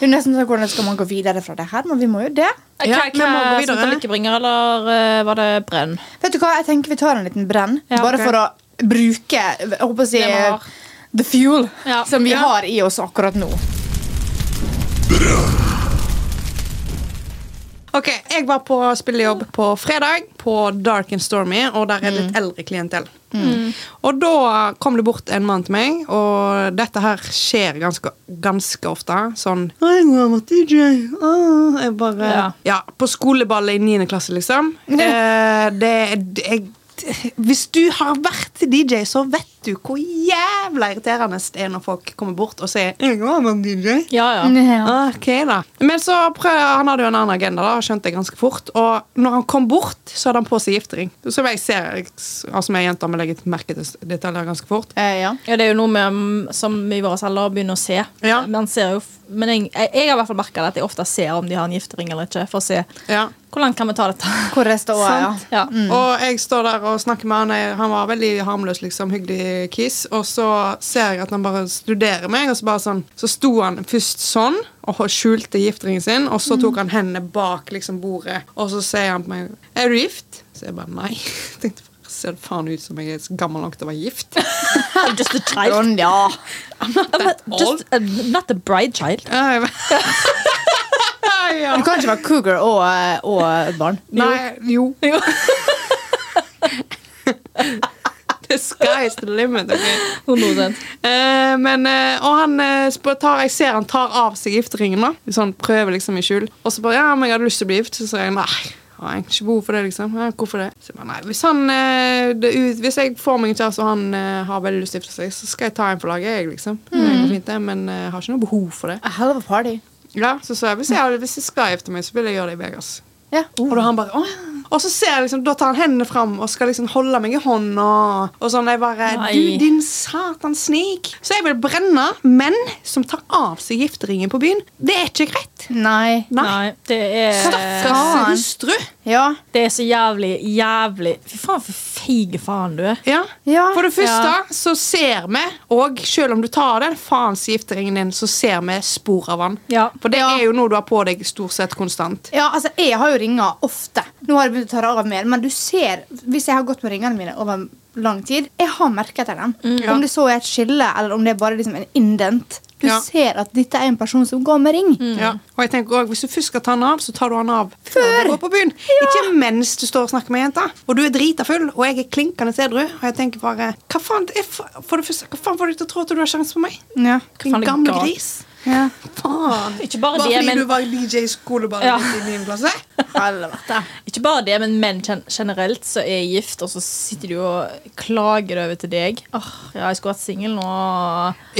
S2: Det er nesten sånn hvordan skal man gå videre fra det her, men vi må jo det.
S1: Ja,
S3: Hva-
S1: vi må gå
S3: hva-
S1: videre.
S3: Sendte lykkebringer, eller eh, var det brenn?
S2: Vet du hva, jeg tenker vi tar en liten brenn,
S3: Ja,
S2: bare
S1: ok.
S2: for å bruke jeg håper å si,
S3: Det vi har.
S2: the fuel
S3: Ja.
S2: som vi
S3: Ja.
S2: har i oss akkurat nå.
S1: Ok, Jeg var på spillejobb på fredag, på Dark and Stormy, og der er det litt eldre klientell. Og da kom det bort en mann til meg, og dette her skjer ganske, ganske ofte. Sånn «Hei, jeg var DJ. Ah, jeg bare ja.
S3: Ja.
S1: På skoleballet i 9. klasse, liksom. Eh, det, det jeg, hvis du har vært DJ, så vet du hvor jævla irriterende det er når folk kommer bort og sier 'Jeg var en DJ'.
S3: Ja, ja.
S1: Ok da Men så prøv, han hadde jo en annen agenda da Skjønte jeg ganske fort Og når han kom bort Så hadde han på seg giftering Som jeg ser Altså med jenter med legget merke til s- detaljer ganske fort
S2: Eh, ja.
S3: Ja, det er jo noe med, mm, som vi våre selger begynner å se.
S1: Ja.
S3: Man ser jo, f- men jeg, jeg, jeg har i hvert fall merket at jeg ofte ser om de har en giftering eller ikke. For å se
S1: Ja
S3: hvor langt kan vi ta [LAUGHS] dette.
S2: Hvor er ståa, ja.
S3: Ja. Mm.
S1: Og jeg står der og snakker med han jeg- Han var veldig harmløs, liksom, hyggelig kiss Og så ser jeg at han bare studerer meg Og så bare sånn Så sto han først sånn Og skjulte gifteringen sin Og så tok han hendene bak liksom bordet Og så sier han på meg Er du gift? Så jeg bare nei [LAUGHS] Jeg tenkte, Ser det faen ut som jeg er så gammel nok til å være gift?
S3: Just a child.
S2: Sånn, ja.
S3: Just a, not a bride child.
S1: Ja, jeg vet- [LAUGHS] ja.
S2: Du kan ikke være cougar og, eh, og barn.
S1: Nei, jo.
S3: Jo.
S1: [LAUGHS] The sky is the limit. ok?
S3: 100%.
S1: Eh, men, eh, og han eh, spør- tar, jeg ser han tar av seg gifteringen, da. Så han prøver liksom i skjul. Og så bare ja, men jeg hadde lyst til å bli gift. Så sier jeg nei. Har jeg ikke behov for det, liksom. Ja, hvorfor det? Så jeg bare, nei, hvis, han, eh, det ut, hvis jeg får meg en kjæreste og han eh, har veldig lyst til å gifte seg, så skal jeg ta en for laget, jeg, liksom. Det går fint, det, men eh, jeg har ikke noe behov for det.
S2: A hell of a party.
S1: Ja, så sa jeg hvis jeg, hvis jeg skal gifte meg, så vil jeg gjøre det i Vegas.
S2: Ja.
S1: Og da han bare, «Åh, ja.» og så ser jeg liksom, da tar han hendene fram og skal liksom holde meg i hånda. Og sånn, jeg bare,
S3: Nei.
S1: du din satan snik. Så jeg vil brenne menn som tar av seg gifteringen på byen. Det er ikke greit.
S2: Nei.
S1: Nei.
S3: Nei, det er,
S1: Stakkars hustru.
S2: Ja.
S3: det er så jævlig, jævlig Fy faen, for feig faen du er.
S1: Ja.
S2: Ja.
S1: For det første
S3: Ja.
S1: så ser vi, og selv om du tar den faens gifteringen din, så ser vi spor av den.
S3: Ja.
S1: For det
S2: Ja.
S1: er jo noe du har på deg stort sett konstant.
S2: Ja, altså, Jeg har jo ringer ofte. Nå har jeg begynt å ta det av mer, men du ser, hvis jeg har gått med ringene mine over lang tid Jeg har merket etter dem.
S1: ja.
S2: Om det så er et skille, eller om det er bare liksom en indent. Du
S1: Ja.
S2: ser at dette er en person som går med ring.
S1: Ja. Og jeg tenker også, Hvis du først skal ta den av, så tar du den av før du går på byen. Ikke mens du står og snakker med jenta. Og du er drita full, og jeg er klinkende edru. Og jeg tenker bare Hva faen er fa- for det første, hva faen får du til å tro at du har sjanse på meg?
S2: Ja.
S1: Din
S3: faen er
S1: gamle
S3: gal?
S1: gris.
S2: Ja.
S1: Faen.
S3: Ikke bare,
S1: Bare
S3: det,
S1: fordi
S3: men,
S1: du var DJ i skoleballet
S3: Ja.
S1: ditt i 9. klasse?
S2: Helvete.
S3: ikke bare det, men menn gen- generelt så er gift, og så sitter de og klager over til deg. Åh, ja, jeg skulle vært singel nå.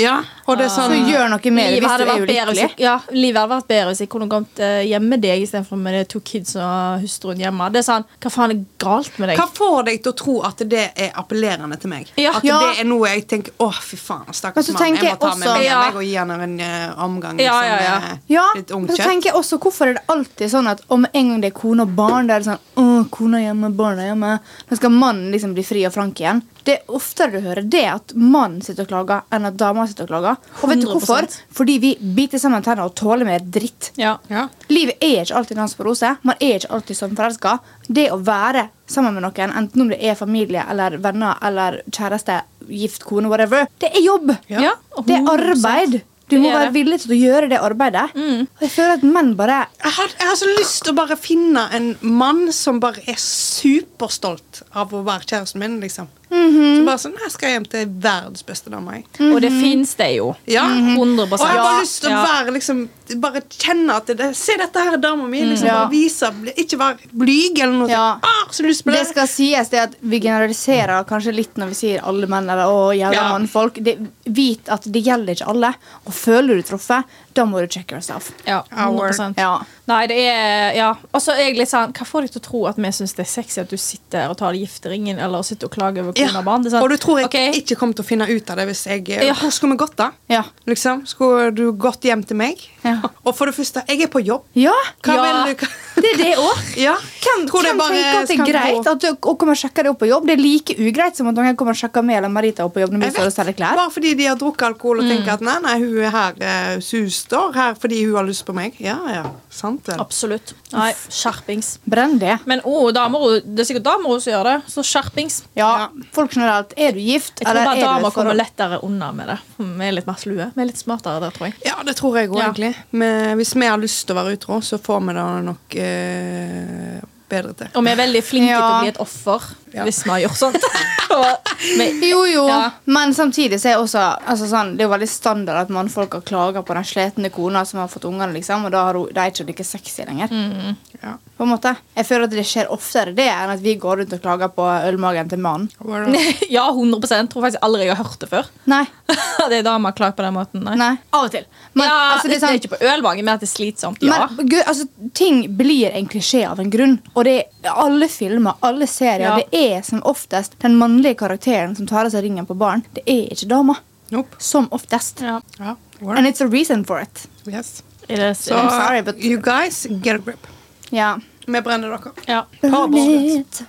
S1: Ja. Og det er
S2: Så
S1: sånn
S2: gjør noe med det
S3: Livet
S2: hvis du
S3: hadde
S2: er
S3: vært bedre hvis
S2: ulykkelig.
S3: jeg- ja, livet hadde vært bedre hvis jeg kunne kommet eh, hjem med deg istedenfor med de to kids og hustruen hjemme. Det er sånn, Hva faen er galt med deg?
S1: hva får deg til å tro at det er appellerende til meg?
S3: Ja.
S1: At
S2: Ja.
S1: det er noe jeg tenker Å, fy faen,
S2: Men
S1: stakkars
S2: så
S1: mann. Jeg
S2: tenker
S1: må ta
S2: jeg
S1: med
S2: også-
S1: meg
S3: Ja.
S1: hjem og gi henne en eh, omgang
S3: Ja, ja, ja.
S1: som er
S2: Ja,
S1: litt
S2: men så
S1: ungkjøtt.
S2: tenker jeg også Hvorfor er det alltid sånn at om en gang det er kone og barn, da er det sånn Åh, kona er hjemme, barna er hjemme. Da skal mannen liksom bli fri og frank igjen. Det er oftere du hører det at mannen sitter og klager, enn at dama sitter og klager. Og vet du hvorfor?
S3: 100%.
S2: Fordi vi biter sammen tenner og tåler mer dritt.
S3: Ja.
S1: Ja.
S2: Livet er ikke alltid dans på roser. Man er ikke alltid sånn forelska. Det å være sammen med noen, enten om det er familie eller venner eller kjæreste, gift kone, whatever, det er jobb.
S1: Ja.
S3: Ja,
S2: Det er arbeid. Du må
S3: Det er
S2: være
S3: det.
S2: villig til å gjøre det arbeidet. Og jeg føler at menn bare
S1: Jeg har, jeg har så lyst til å bare finne en mann som bare er superstolt av å være kjæresten min. liksom.
S2: Mhm.
S1: Så bare sånn, jeg skal hjem til verdens beste dame. jeg.
S3: Og det fins det jo.
S1: Ja.
S2: Mhm.
S3: 100
S1: Og jeg har bare
S3: Ja.
S1: lyst til å
S3: Ja.
S1: være liksom, bare kjenne at det, Se, dette her er dama mi. Liksom,
S2: Ja.
S1: bare vise, bli- ikke være blyg eller noe.
S2: Ja.
S1: sånn, Ah, så lyst på
S2: Det
S1: det.
S2: skal sies det at vi generaliserer kanskje litt når vi sier alle menn eller å, jævla
S1: Ja.
S2: mannfolk. Det, vit at det gjelder ikke alle. Og føler du truffet, da må du check yourself.
S3: Ja, 100
S2: Ja.
S3: Nei, det er Ja. Og så er jeg litt sånn Hva får deg til å tro at vi syns det er sexy at du sitter og tar gifteringen eller sitter og klager over
S1: Ja.
S3: kone og barn? Det er sånn,
S1: Og du tror jeg
S3: ok,
S1: ikke kommer til å finne ut av det hvis jeg eh,
S3: Ja.
S1: Hvor skulle vi gått, da?
S2: Ja.
S1: Liksom, Skulle du gått hjem til meg?
S2: Ja.
S1: Og for det første, jeg er på jobb.
S2: ja.
S1: Hva
S3: Ja.
S1: vil du
S2: Det er det òg.
S1: Ja, hvem tror det
S2: Hvem
S1: bare
S2: tenker at det er
S1: skal
S2: greit
S1: gå-
S2: at du å komme og sjekke deg opp på jobb? Det er like ugreit som at noen kommer og sjekker meg eller Marita opp på jobb når vi
S1: Jeg
S2: står og
S1: vet,
S2: selger klær. Mm.
S1: Bare fordi de har drukket alkohol og tenker at nei, nei, hun er her, eh, så hun står her fordi hun har lyst på meg. Ja, ja, sant vel.
S3: Absolutt. Nei, skjerpings.
S2: Brenn det.
S3: Men å, damer, å, det er sikkert damer også som gjør det. Så skjerpings.
S2: Ja, folk generelt. Er du gift,
S3: Jeg tror
S2: eller
S3: bare
S2: er du
S3: damer
S2: et
S3: kommer
S2: forhold?
S3: lettere unna med det. Vi er litt mer slue. Vi er litt smartere der, tror jeg.
S1: Ja, det tror jeg òg,
S3: Ja.
S1: egentlig. Men eh, hvis vi har lyst til å være utro, så får vi det nok eh, bedre til.
S3: Og vi er veldig flinke til
S2: Ja.
S3: å bli et offer
S1: Ja.
S3: hvis vi har gjort sånt. [LAUGHS] Og vi- [LAUGHS]
S2: Jo, jo,
S3: Ja.
S2: men samtidig så er også, altså sånn, det er jo veldig standard at mannfolk har klager på den sletne kona som har fått ungene, liksom, og da har hun, de er ikke like sexy lenger.
S3: Mm.
S1: Ja.
S2: På en måte. Jeg føler at det skjer oftere det enn at vi går rundt og klager på ølmagen til mannen.
S1: Hva er
S2: [LAUGHS]
S1: det?
S3: ja, 100 Tror faktisk aldri jeg har hørt det før. [LAUGHS]
S2: Nei.
S3: At ei dame har klagd på den måten. Nei.
S2: Nei. Av og til. Men,
S3: ja,
S2: altså, det er sånn,
S3: ikke på ølmagen, men at det er slitsomt. Ja.
S2: men gud, altså, ting blir en klisjé av en grunn. Og det er alle filmer, alle serier,
S3: Ja.
S2: det er som oftest den mannlige karakteren som tar av seg ringen på baren. Det er ikke dama.
S1: Nope.
S2: Som oftest.
S3: Ja.
S1: Ja, hva er
S2: And
S1: det?
S2: it's a reason for it.
S1: Yes. Så
S3: Så,
S2: sorry, but-
S1: you guys, get a grip.
S2: Ja.
S1: Vi brenner
S2: [LAUGHS]
S1: dere.
S3: ja.
S1: Burn it.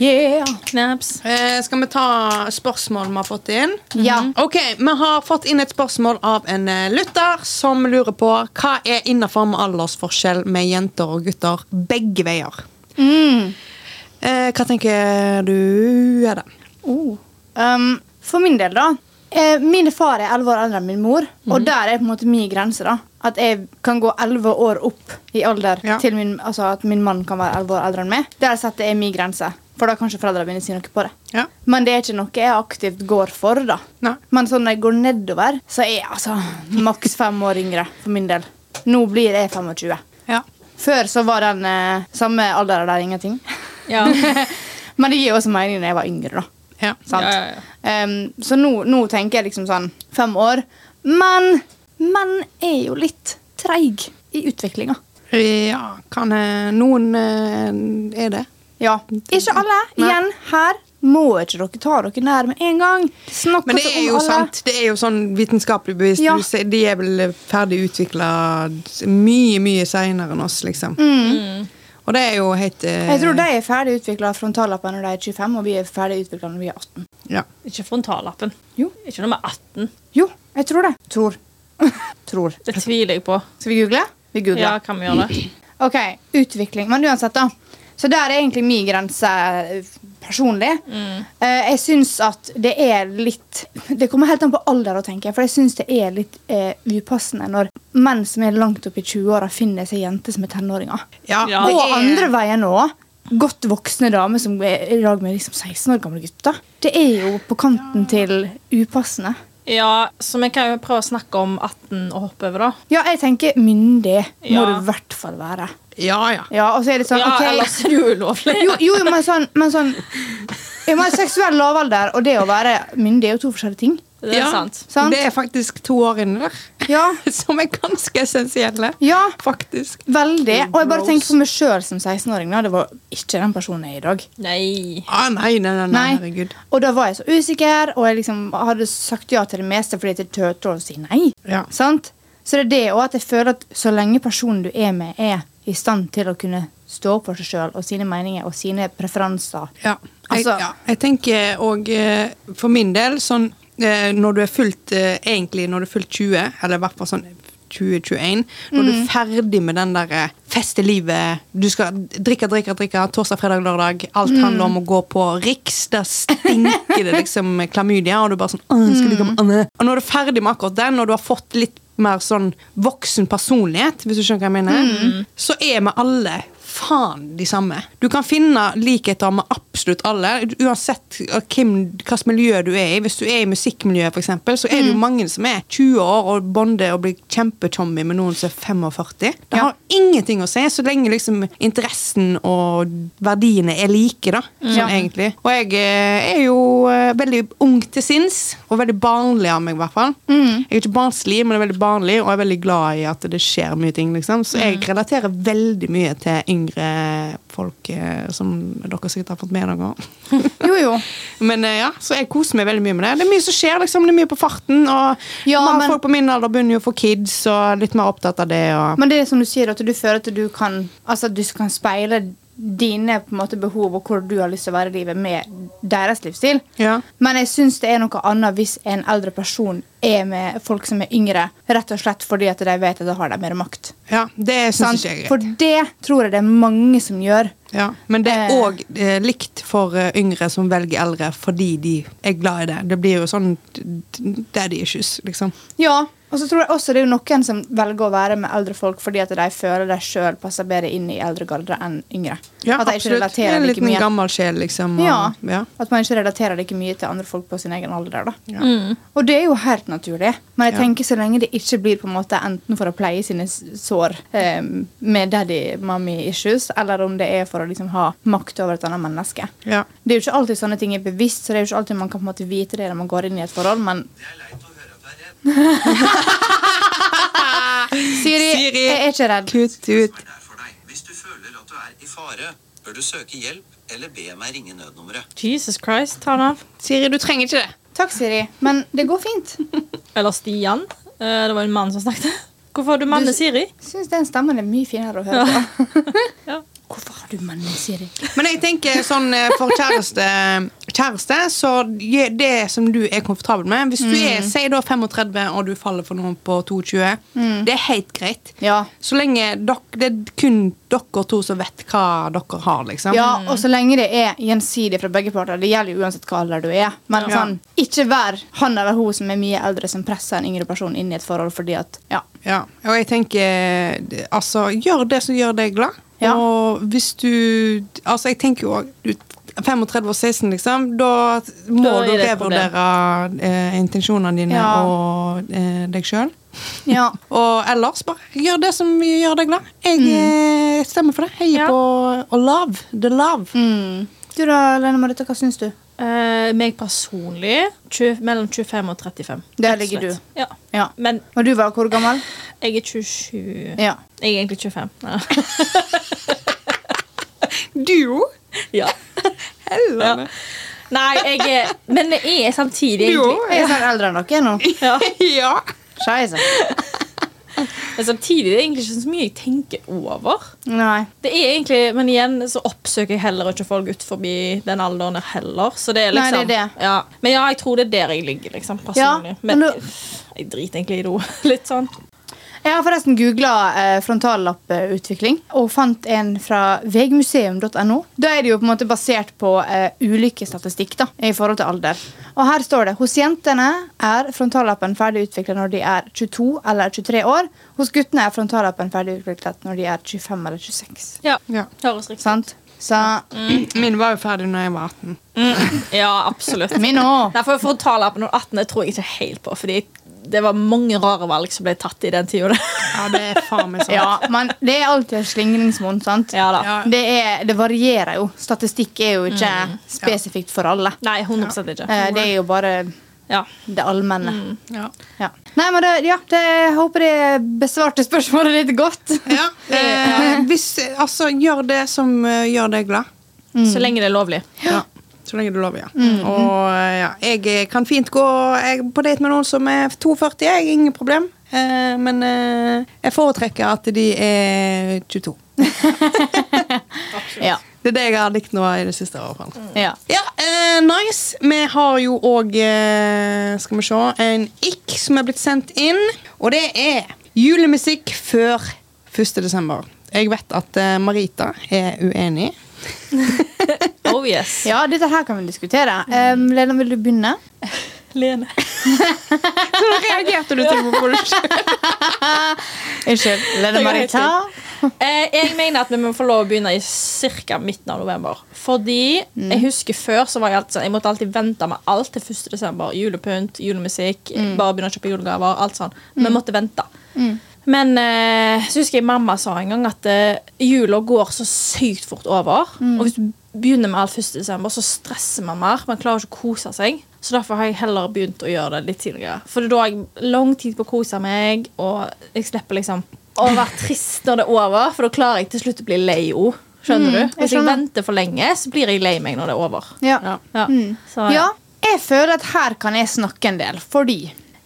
S2: Yeah.
S3: Knaps.
S1: Eh, skal vi ta spørsmål vi har fått inn?
S2: Ja.
S3: Mhm.
S1: Ok, Vi har fått inn et spørsmål av en eh, lytter som lurer på hva er innafor med aldersforskjell med jenter og gutter begge veier.
S2: Mm.
S1: Eh, hva tenker du er det?
S2: Oh. Um, for min del, da. Eh, min far er elleve år eldre enn min mor, og der er på en måte min grense. da At jeg kan gå elleve år opp i alder
S1: Ja.
S2: til min, altså at min mann kan være elleve år eldre enn meg. Der setter jeg min grense, for da kan ikke foreldrene mine si noe på det.
S1: Ja.
S2: Men det er ikke noe jeg aktivt går for. da
S1: Nei.
S2: Men sånn når jeg går nedover, så er jeg altså maks fem år yngre for min del. Nå blir jeg 25.
S1: Ja.
S2: Før så var den eh, samme alderen der ingenting. [LAUGHS]
S3: Ja. [LAUGHS]
S2: Men det gir jo også mening når jeg var yngre. da
S1: Ja.
S2: Sant?
S3: Ja, ja,
S2: Ehm, så nå, nå tenker jeg liksom sånn fem år. Men menn er jo litt treig i utviklinga.
S1: ja kan eh, Noen eh, er det.
S2: Ja. Ikke alle.
S1: Nei.
S2: Igjen, her må ikke dere ta dere nær med en gang. Snakk
S1: Men det
S2: altså
S1: er
S2: om
S1: jo
S2: alle.
S1: sant. Det er jo sånn vitenskapelig bevisst.
S2: Ja.
S1: Du ser- De er vel ferdig utvikla mye, mye seinere enn oss, liksom. Og det er jo helt eh,
S2: Mm. Jeg tror de er ferdig utvikla frontallappen når de er 25, og vi er ferdig utvikla når vi er 18.
S1: ja.
S3: Ikke frontallappen.
S2: Jo.
S3: Ikke nummer 18.
S2: Jo, jeg tror det. Tror. [LAUGHS] tror.
S3: Det tviler jeg på.
S2: Skal vi google? Vi googler.
S3: Ja, kan vi gjøre det?
S2: Ok, utvikling. Men uansett, da. Så der er egentlig min grense eh, personlig.
S3: Mm.
S2: Eh, jeg syns at det er litt Det kommer helt an på alder, å tenke, for jeg syns det er litt eh, upassende når menn som er langt opp i 20-åra, finner seg jenter som er tenåringer.
S1: Ja,
S3: Ja.
S1: det
S2: Og
S1: er-
S2: andre veien òg. Godt voksne damer som er i lag med liksom 16 år gamle gutter. Det er jo på kanten til upassende.
S3: Ja, så vi kan jo prøve å snakke om 18 og hoppe over, da.
S2: Ja, jeg tenker myndig må
S3: Ja.
S2: du i hvert fall være.
S1: Ja, ja.
S2: Ja, og så er det sånn,
S3: Ja,
S2: ok
S3: ellers er det jo ulovlig.
S2: Jo, jo men sånn, men sånn ja, men Seksuell lavalder og det å være myndig er jo to forskjellige ting.
S3: Det er
S1: ja.
S3: sant.
S2: Sant?
S1: Det er faktisk to år inni der [LAUGHS]
S2: Ja,
S1: som er ganske essensielle.
S2: ja
S1: Faktisk.
S2: veldig. Og jeg bare tenker på meg sjøl som 16-åring. da. Det var ikke den personen jeg er i dag.
S3: Nei.
S1: Ah, nei, nei, nei, nei,
S2: Nei.
S1: herregud.
S2: Og da var jeg så usikker, og jeg liksom hadde sagt ja til det meste fordi jeg turte å si nei.
S1: Ja.
S2: Sant? Så det er det òg at jeg føler at så lenge personen du er med, er i stand til å kunne stå opp for seg sjøl og sine meninger og sine preferanser
S1: Ja. Jeg,
S2: Altså-
S1: ja. jeg tenker òg for min del sånn eh, når du er fullt eh, Egentlig når du er fullt 20, eller i hvert fall sånn 2021, når du er ferdig med den der feste livet Du skal drikke, drikke, drikke. Torsdag, fredag, lørdag. Alt handler om å gå på Riks. Der stinker det liksom klamydia, og du bare sånn «Åh, jeg skal ligge med Anne. Og når du er ferdig med akkurat den, og du har fått litt mer sånn voksen personlighet, hvis du skjønner hva jeg mener, så er vi alle faen de samme. Du kan finne likheter med absolutt alle, uansett hvem, hvilket miljø du er i. Hvis du er i musikkmiljøet, for eksempel, så er det jo mange som er 20 år og bonder og blir kjempechommy med noen som er 45. Det
S2: Ja.
S1: har ingenting å si, så lenge liksom interessen og verdiene er like, da. Sånn
S2: Mm. Ja.
S1: egentlig. Og jeg eh, er jo eh, veldig ung til sinns, og veldig barnlig av meg, i hvert fall.
S2: Mm.
S1: Jeg er ikke barnslig, men er veldig barnlig, og er veldig glad i at det skjer mye ting, liksom. Så jeg
S2: Mm.
S1: relaterer veldig mye til yngre folk, eh, som dere sikkert har fått med dere.
S2: Jo, jo.
S1: Men eh, ja, så jeg koser meg veldig mye med det. Det er mye som skjer, liksom. Det er mye på farten, og
S2: Ja,
S1: mange
S2: men-
S1: folk på min alder begynner jo å få kids, og litt mer opptatt av det, og
S2: Men det er som du sier, at du føler at du kan, altså, at du kan speile dine på en måte, behov og hvor du har lyst til å være i livet, med deres livsstil.
S1: Ja.
S2: Men jeg syns det er noe annet hvis en eldre person er med folk som er yngre, rett og slett fordi at de vet at de har de mer makt.
S1: ja, det
S2: Sant?
S1: syns ikke jeg er greit.
S2: For det tror jeg det er mange som gjør.
S1: Ja, men det er
S2: Eh.
S1: òg eh, likt for eh, yngre som velger eldre fordi de er glad i det. Det blir jo sånn daddy issues, liksom.
S2: Ja, og så tror jeg også det er jo noen som velger å være med eldre folk fordi at de føler de sjøl passer bedre inn i eldregarde enn yngre. at de ikke relaterer
S1: En
S2: like
S1: liten
S2: mye.
S1: gammel sjel, liksom. Og,
S2: Ja,
S1: ja.
S2: At man ikke relaterer like mye til andre folk på sin egen alder. da. Mm.
S1: Ja.
S2: Og det er jo helt naturlig, men
S1: Ja.
S2: jeg tenker så lenge det ikke blir på en måte enten for å pleie sine s- sår eh, med daddy-mommy-issues, eller om det er for å liksom ha makt over et annet menneske.
S1: Ja.
S2: Det er jo ikke alltid sånne ting er bevisst, så det er jo ikke alltid man kan på en måte vite det når man går inn i et forhold, men [LAUGHS] Siri,
S1: Siri!
S2: jeg er ikke redd.
S1: Kutt ut.
S5: er der for deg. Hvis du føler at du er i fare, bør du søke hjelp eller be meg ringe nødnummeret.
S3: Jesus Christ, ta den av.
S1: Siri, du trenger ikke det.
S2: Takk, Siri, men det går fint.
S3: Eller Stian. Eh, Det var en mann som snakket. Hvorfor har du manne
S2: Du-
S3: Siri?
S2: Syns den stemmen er mye finere å
S1: [LAUGHS]
S2: høre på.
S3: Ja.
S2: Hvorfor har du mannen, Siri?
S1: Men jeg tenker sånn eh, for kjæreste, kjæreste så gi det som du er komfortabel med Hvis du
S2: Mm.
S1: er si da 35 og du faller for noen på 22,
S2: Mm.
S1: det er helt greit.
S2: Ja.
S1: Så lenge dok, det er kun dere to som vet hva dere har, liksom.
S2: Ja, og så lenge det er gjensidig fra begge parter. Det gjelder jo uansett hva alder du er. Men
S1: Ja.
S2: sånn, ikke vær han eller hun som er mye eldre, som presser en yngre person inn i et forhold fordi at Ja.
S1: Ja, og jeg tenker det- Altså, gjør det som gjør deg glad.
S2: Ja.
S1: Og hvis du Altså, jeg tenker jo òg 35 og 16, liksom. Da må
S3: Da er
S1: du
S3: det et problem.
S1: revurdere eh, intensjonene dine
S2: Ja.
S1: og eh, deg sjøl.
S2: [LAUGHS] ja.
S1: Og ellers, bare gjør det som gjør deg glad. Jeg eh, stemmer for det. Heier
S3: Mm. Ja. Mm.
S1: på og love. The love.
S2: Du da, Lene Marita, hva syns du?
S3: Eh, meg personlig tjue- mellom 25 og 35.
S2: Der
S3: rett og
S2: ligger
S3: slett. Ja.
S2: Ja.
S3: Men
S2: Og du var hvor gammel?
S3: jeg er 27
S2: Ja.
S3: Jeg er egentlig 25. Ja.
S1: Duo.
S3: ja.
S1: Helvete.
S3: Nei, jeg er Men jeg er samtidig
S1: Jo.
S3: egentlig
S2: Jeg er snart eldre enn dere nå.
S3: ja.
S1: Ja.
S2: [LAUGHS] Scheisse.
S3: Men samtidig er det egentlig ikke så mye jeg tenker over.
S2: Nei.
S3: Det er egentlig, Men igjen så oppsøker jeg heller ikke folk ut forbi den alderen heller. Så det er
S2: Nei,
S3: liksom
S2: det er det.
S3: Ja. Men ja, jeg tror det er der jeg ligger, liksom. Personlig.
S2: Ja,
S3: men
S2: men du-
S3: jeg driter egentlig i det [LAUGHS] òg. Litt sånn.
S2: Jeg har forresten googla eh, frontallapputvikling og fant en fra vegmuseum.no. Da er det jo på en måte basert på eh, ulykkesstatistikk da, i forhold til alder. Og her står det hos jentene er frontallappen ferdig utvikla når de er 22 eller 23 år. Hos guttene er frontallappen ferdig utviklet når de er 25 eller 26.
S3: Ja.
S1: Ja.
S3: Høres riktig
S2: Sant? Så
S1: [CLEARS THROAT] Mm. Min var jo ferdig når jeg var 18.
S3: Ja, absolutt.
S2: [LAUGHS] min òg.
S3: Nei, for Frontallappen og 18 det tror jeg ikke helt på. Fordi det var mange rare valg som ble tatt i den tida.
S1: Ja, det er faen meg sånn. sant.
S2: Ja, men det er alltid et slingringsmonn, sant?
S3: ja, da.
S1: Ja.
S2: Det, er, det varierer jo. Statistikk er jo ikke
S1: Mm.
S2: spesifikt for alle.
S3: [LAUGHS] Nei, 100 ikke.
S2: Eh, det er jo bare
S3: Ja.
S2: det allmenne.
S3: Mm.
S1: Ja.
S2: Ja. Nei, men det, ja, det, jeg håper jeg besvarte spørsmålet ditt godt.
S3: [LAUGHS]
S1: Ja. Eh, hvis, altså, gjør det som eh, gjør deg glad.
S2: Mm.
S3: Så lenge det er lovlig.
S1: Ja. Så lenge du lover, ja. Og eh, ja, jeg kan fint gå jeg, på date med noen som er 42, jeg, ingen problem. Eh, men eh, jeg foretrekker at de er 22.
S2: Ja.
S1: Det er det jeg har likt nå i det siste. i hvert fall.
S2: ja.
S1: Ja, eh, nice. Vi har jo òg eh, Skal vi se en ikk som er blitt sendt inn. Og det er julemusikk før 1. desember. Jeg vet at eh, Marita er [LAUGHS] uenig.
S3: Oh yes.
S2: [LAUGHS] ja, dette her kan vi diskutere.
S3: Mm.
S2: Um, Lena, vil du begynne?
S3: Lene.
S1: [LAUGHS] Hvordan reagerte du til hvorfor du ikke
S2: Unnskyld.
S3: [LAUGHS] Det
S2: Lene
S3: går helt
S2: Marita.
S3: [LAUGHS] Eh, jeg mener at vi må få lov å begynne i cirka midten av november. Fordi jeg husker før så var jeg alltid sånn Jeg måtte alltid vente med alt til 1. desember. Julepynt, julemusikk, bare begynne å kjøpe julegaver. Alt sånn. Vi måtte vente. Men eh, så husker jeg mamma sa en gang at eh, jula går så sykt fort over. Og hvis du begynner med alt 1. desember, så stresser man mer. Man klarer ikke å kose seg. Så derfor har jeg heller begynt å gjøre det litt tidligere. For da har jeg lang tid på å kose meg, og jeg slipper liksom å være trist når det er over, for da klarer jeg til slutt å bli lei òg. Skjønner du? Hvis Mm. jeg
S2: skjønner.
S3: venter for lenge, så blir jeg lei meg når det er over.
S2: Ja. Mm.
S1: Ja.
S3: Ja. Så,
S2: ja, jeg føler at her kan jeg snakke en del, fordi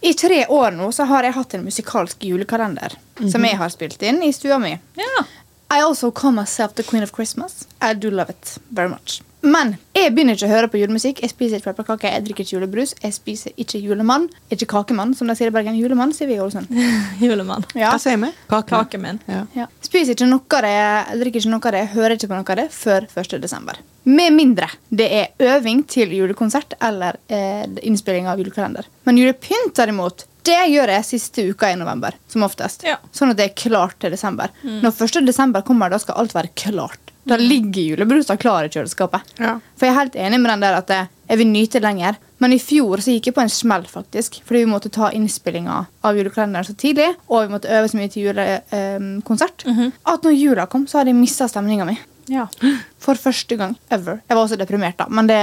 S2: i tre år nå så har jeg hatt en musikalsk julekalender
S3: Mhm.
S2: som jeg har spilt inn i stua mi.
S3: ja. [LAUGHS]
S2: I also call myself the queen of Christmas. I do love it very much. Men jeg begynner ikke å høre på julemusikk. Jeg spiser ikke pepperkaker, jeg drikker ikke julebrus, jeg spiser ikke julemann. Ikke kakemann, som de sier i Bergen. Julemann, sier vi i Ålesund.
S3: [LAUGHS] Julemann.
S2: Ja.
S1: Hva sier vi?
S3: Kaken min.
S1: Ja.
S2: Ja. Spiser ikke noe av det, jeg drikker ikke noe av det, jeg hører ikke på noe av det før 1. desember. Med mindre det er øving til julekonsert eller eh, innspilling av julekalender. Men julepynt, derimot, det gjør jeg siste uka i november. som oftest.
S3: Ja.
S2: Sånn at det er klart til desember. Når 1. desember kommer, da skal alt være klart. Da ligger julebrusa klar i kjøleskapet.
S1: Ja.
S2: For jeg er helt enig med den der at eh, jeg vil nyte lenger. Men i fjor så gikk jeg på en smell, faktisk. Fordi vi måtte ta innspillinga av julekalenderen så tidlig. Og vi måtte øve så mye til julekonsert. At når jula kom, så hadde jeg mista stemninga mi.
S3: Ja.
S2: For første gang ever. Jeg var også deprimert, da. Men det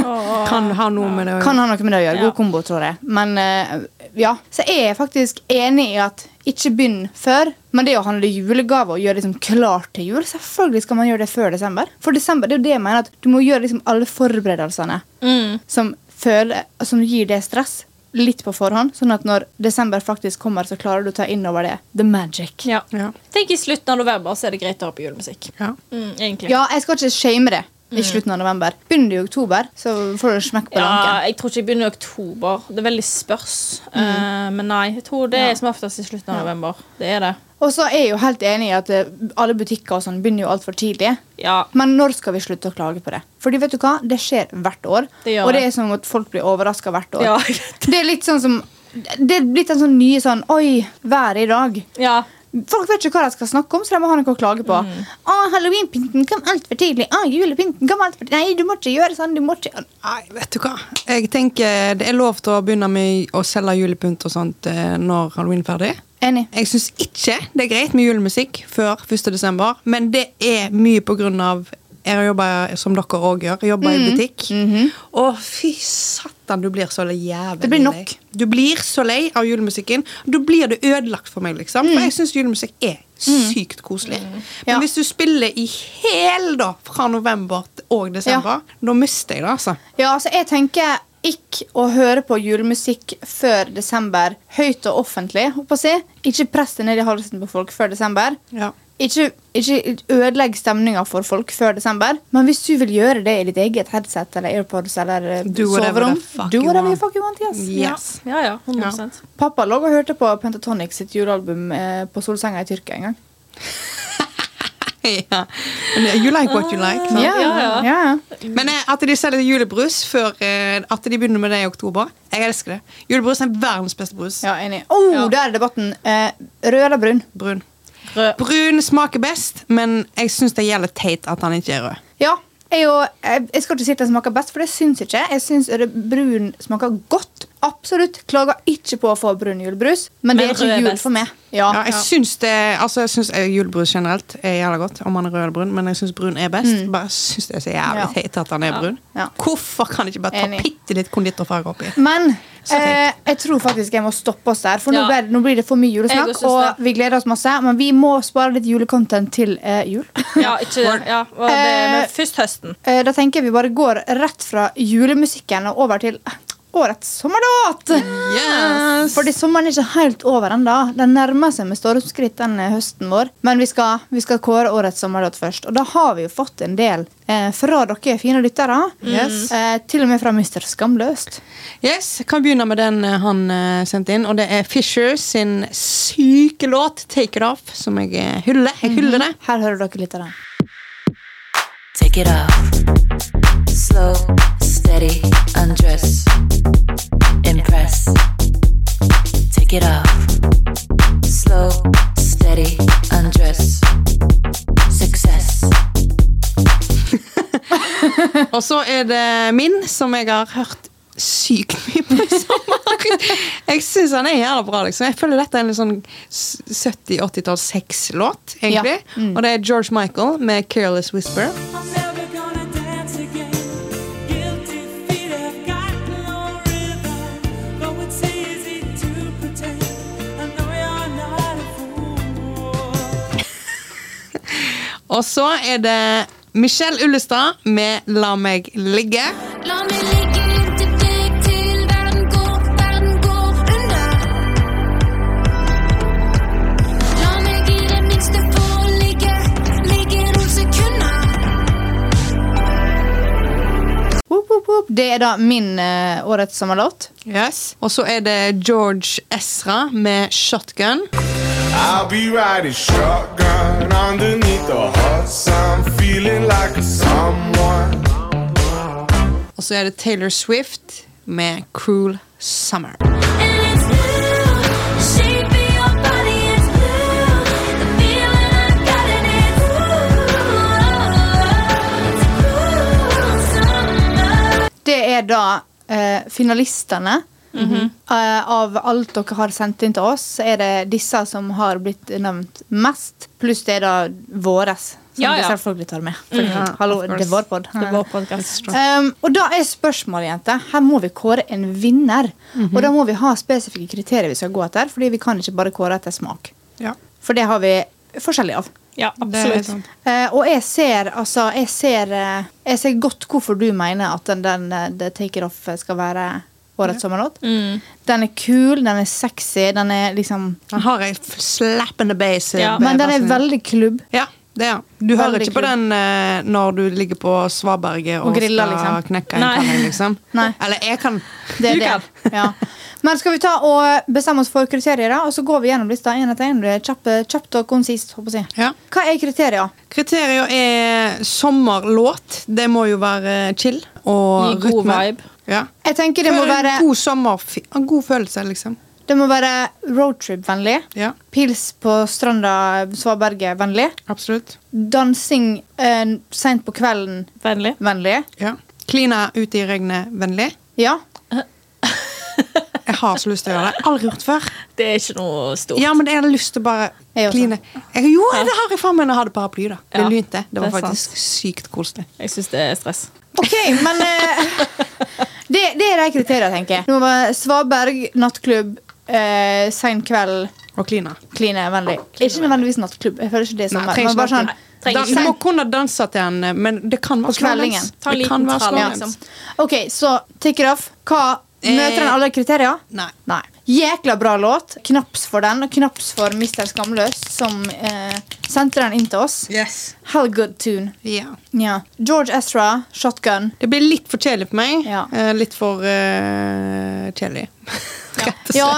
S2: [LAUGHS]
S1: Kan ha noe med det å
S2: kan ha noe med det å gjøre.
S3: Ja.
S2: God kombo, tror jeg. Men eh, ja. Så jeg er faktisk enig i at ikke begynn før. Men det å handle julegaver og gjøre liksom klart til jul Selvfølgelig skal man gjøre det før desember. For desember, det er jo det jeg mener at du må gjøre liksom alle forberedelsene
S3: Mm.
S2: som, føler, som gir deg stress, litt på forhånd. Sånn at når desember faktisk kommer, så klarer du å ta inn over det. The magic.
S3: ja.
S1: Ja.
S3: Tenk i slutten av november så er det greit å høre på julemusikk.
S1: Ja.
S3: Mm, egentlig.
S2: Ja, jeg skal ikke shame det i slutten av november. Begynner du i oktober, så får du smekk på
S3: Mm. Ja,
S2: lanken.
S3: jeg tror ikke jeg begynner i oktober. Det er veldig spørs. Eh, men nei, jeg tror det er som oftest i slutten av november. Det er det.
S2: Og så er jeg jo helt enig i at eh, alle butikker og sånn begynner jo altfor tidlig.
S3: Ja.
S2: Men når skal vi slutte å klage på det? Fordi vet du hva? Det skjer hvert år.
S3: Det gjør
S2: og det
S3: det.
S2: er som at folk blir overraska hvert år.
S3: Ja.
S2: Det er litt sånn som Det er blitt en sånn nye sånn Oi, været i dag.
S3: ja.
S2: Folk vet ikke hva de skal snakke om, så de må ha noe å klage på.
S3: Mm.
S2: Å, halloweenpynten kom altfor tidlig. Å, julepynten kom altfor tidlig. Nei, du må ikke gjøre sånn. Du må ikke
S1: Nei, vet du hva. Jeg tenker Det er lov til å begynne med å selge julepynt og sånt eh, når halloween er ferdig.
S2: Enig.
S1: Jeg syns ikke det er greit med julemusikk før 1.12., men det er mye på grunn av jeg har jobba som dere òg gjør. Jeg jobber
S2: Mhm.
S1: i butikk. Å, fy satan, du blir så jævlig
S2: Det blir nok.
S1: lei. Du blir så lei av julemusikken. Da blir det ødelagt for meg, liksom. For jeg syns julemusikk er sykt koselig. Men
S2: Mhm. Ja.
S1: hvis du spiller i hæl, da, fra november til- og desember, da mister jeg det, altså.
S2: Ja, altså jeg tenker ikke å høre på julemusikk før desember høyt og offentlig. håper jeg. å si. Ikke press det ned i halsen på folk før desember.
S1: Ja.
S2: Ikke, ikke ødelegg stemninga for folk før desember. Men hvis du vil gjøre det i ditt eget headset eller AirPods eller eh,
S1: Do whatever
S2: soverom
S1: the fuck
S2: Do
S1: you
S2: whatever you
S1: want.
S2: fuck you want, yes.
S1: Yes.
S3: Ja, ja. 100
S2: Pappa lå og hørte på Pentatonic sitt julealbum eh, på solsenga i Tyrkia en gang.
S1: [LAUGHS] ja. Men uh, You like what you like. Sant?
S2: Ja,
S3: ja, ja.
S2: ja.
S1: Men eh, at de selger julebrus før eh, At de begynner med det i oktober. Jeg elsker det. Julebrus er verdens beste brus.
S2: Ja, enig. Oh,
S3: Ja.
S2: der er debatten. Eh, rød eller brun?
S1: Brun.
S3: Rød.
S1: Brun smaker best, men jeg syns det gjelder teit at han ikke er rød.
S2: Ja. Jeg, er jo, jeg, jeg skal ikke si at den smaker best, for det syns ikke. jeg. Jeg syns rød- brun smaker godt. Absolutt. Klager ikke på å få brun julebrus, men, det
S3: Men
S2: er ikke
S3: rød er
S2: jul
S3: best.
S2: for meg. Ja.
S1: Ja, jeg syns det Altså, jeg syns eh, julebrus generelt er jævla godt, om han er rød eller brun, men jeg syns brun er best. Bare syns det er så jævlig
S2: Mm. Ja.
S1: teit at han er brun.
S2: Ja.
S1: Hvorfor kan de ikke bare ta
S2: Enig.
S1: bitte litt konditorfarge oppi?
S2: Men
S1: Så
S2: eh, jeg tror faktisk jeg må stoppe oss der, for nå,
S3: Ja.
S2: ble, nå blir det for mye
S3: Jeg
S2: julesnakk.
S3: også syns
S2: Og vi gleder oss masse, men vi må spare litt julecontent til eh, jul. [LAUGHS]
S3: Ja, ikke det. Ja, og det
S2: Eh,
S3: men først høsten.
S2: Eh, da tenker jeg vi bare går rett fra julemusikken og over til eh, årets sommerlåt.
S1: Yes!
S2: Fordi sommeren er ikke helt over ennå. Den nærmer seg med stormskritt den eh, høsten vår. Men vi skal, vi skal kåre årets sommerlåt først. Og da har vi jo fått en del eh, fra dere fine lyttere.
S1: Yes.
S2: Eh, til og med fra Mr. Skamløst.
S1: Yes, jeg kan begynne med den eh, han eh, sendte inn, og det er Fisher sin syke låt 'Take It Off', som jeg eh, hyller.
S2: Mhm.
S1: Jeg hyller det.
S2: Her hører dere litt av den.
S6: Take it off. Slow, steady, undress. Impress. Take it off. Slow, steady, undress.
S1: Og så er det min, som jeg har hørt sykt mye på i
S2: [LAUGHS]
S1: sommer. Jeg syns han er jævla bra, liksom. Jeg føler dette er en litt sånn 70-80-talls sexlåt, egentlig.
S2: Ja. Mm.
S1: Og det er George Michael med 'Careless Whisper'.
S7: I'm never gonna dance again. Guilty feet have got no rhythm. Though it's easy to pretend, I know you're not a fool.
S1: Og så er det Michelle Ullestad med 'La meg ligge'.
S6: La meg ligge inntil deg til verden går, verden går under. La meg i det minste få ligge, ligge noen sekunder.
S2: Whoop, whoop, whoop. Det er da min eh, årets sommerlåt.
S1: Yes. Og så er det George Ezra med 'Shotgun'.
S8: I'll be riding shotgun underneath the hot sun, feeling like a someone.
S1: Og så er det Taylor Swift med 'Cruel Summer'.
S6: And it's blue, shaping your body is blue. The feeling I got in it, ooh,
S2: Det er da eh, finalistene
S3: Mhm.
S2: eh, av alt dere har sendt inn til oss. Så er det disse som har blitt nevnt mest, pluss det er da våres. Som
S3: Ja, ja. Mm.
S2: dere selvfølgelig tar med. Fordi, hallo,
S1: of
S2: det
S1: course.
S2: er vår pod.
S3: Det var podcast.
S2: Um, og da er spørsmålet, jenter Her må vi kåre en vinner. Og da må vi ha spesifikke kriterier vi skal gå etter, Fordi vi kan ikke bare kåre etter smak.
S1: Ja,
S2: For det har vi forskjellig av.
S3: Ja, absolutt.
S1: sånn.
S2: Eh, og jeg ser, altså, jeg ser, eh, jeg ser godt hvorfor du mener at den, den eh, The Take It Off skal være årets sommerlåt.
S1: Mm.
S2: Den er kul, den er sexy, den er liksom
S1: Han har ei f- slappende bass.
S3: Ja.
S2: Men den er veldig klubb.
S1: eh, Ja, det er han. Du hører
S2: Veldig
S1: ikke på
S2: kul.
S1: den eh, når du ligger på svaberget og,
S2: Og griller,
S1: skal
S2: liksom.
S1: knekke en
S3: Nei.
S1: kanin, liksom.
S2: [LAUGHS] Nei.
S1: Eller jeg kan.
S2: Det er
S3: Du
S2: det. Ja. Men skal vi ta og bestemme oss for kriterier, da? Og så går vi gjennom lista en etter en. Det er kjapp- eh, Kjapt og konsist. håper jeg å si.
S1: Ja.
S2: Hva er kriterier?
S1: Kriterier er sommerlåt. Det må jo være chill og
S3: Gi god
S1: rytme.
S3: vibe.
S1: Ja.
S2: Jeg tenker det må
S1: Føl-
S2: være,
S1: God sommerfi- en God følelse, liksom.
S2: det må være roadtrip-vennlig.
S1: Ja,
S2: Pils på stranda Svaberget-vennlig.
S1: absolutt.
S2: Dansing eh, seint på kvelden-vennlig.
S3: Vennlig.
S1: Ja. Klina ute i regnet vennlig.
S2: Ja.
S1: Jeg har så lyst til å gjøre det. Jeg har Aldri gjort før.
S3: Det er ikke noe stort.
S1: Ja, men jeg har lyst til å bare
S2: Jeg også.
S1: kline. Jeg, jo, det har jeg faen meg når jeg hadde paraply, da. Det
S3: Ja,
S1: lynte. Det var
S3: det er
S1: faktisk sykt koselig.
S3: Jeg syns det er stress.
S2: OK, men eh, [LAUGHS] det, det er de kriteriene, tenker jeg. Det må være Svaberg, nattklubb, eh, sein kveld,
S1: Og klina.
S2: kline vennlig. Ikke nødvendigvis nattklubb. Jeg føler ikke det er
S1: Nei,
S2: samme.
S1: trenger
S2: men
S1: ikke
S2: bare sånn,
S1: nattklubb. Da-
S3: trenger ikke.
S1: Du må kunne danse til en, eh, men det kan være
S2: På kveldingen.
S1: slådans.
S3: Ta en
S1: Det
S3: liten
S1: kan være
S3: trall,
S1: slådans.
S3: liksom.
S2: OK, så take it off. Hva? Møter den alle kriterier?
S1: Nei.
S2: Nei. Jækla bra låt. Knaps for den, og knaps for Mister Skamløs, som eh, sendte den inn til oss.
S1: Yes.
S2: Hell good tune.
S1: Ja.
S2: Ja. George Ezra, Shotgun.
S1: Det blir litt for kjedelig for meg.
S2: Ja.
S1: Eh, litt for eh,
S3: [LAUGHS]
S1: kjedelig. Rett og slett.
S2: Ja.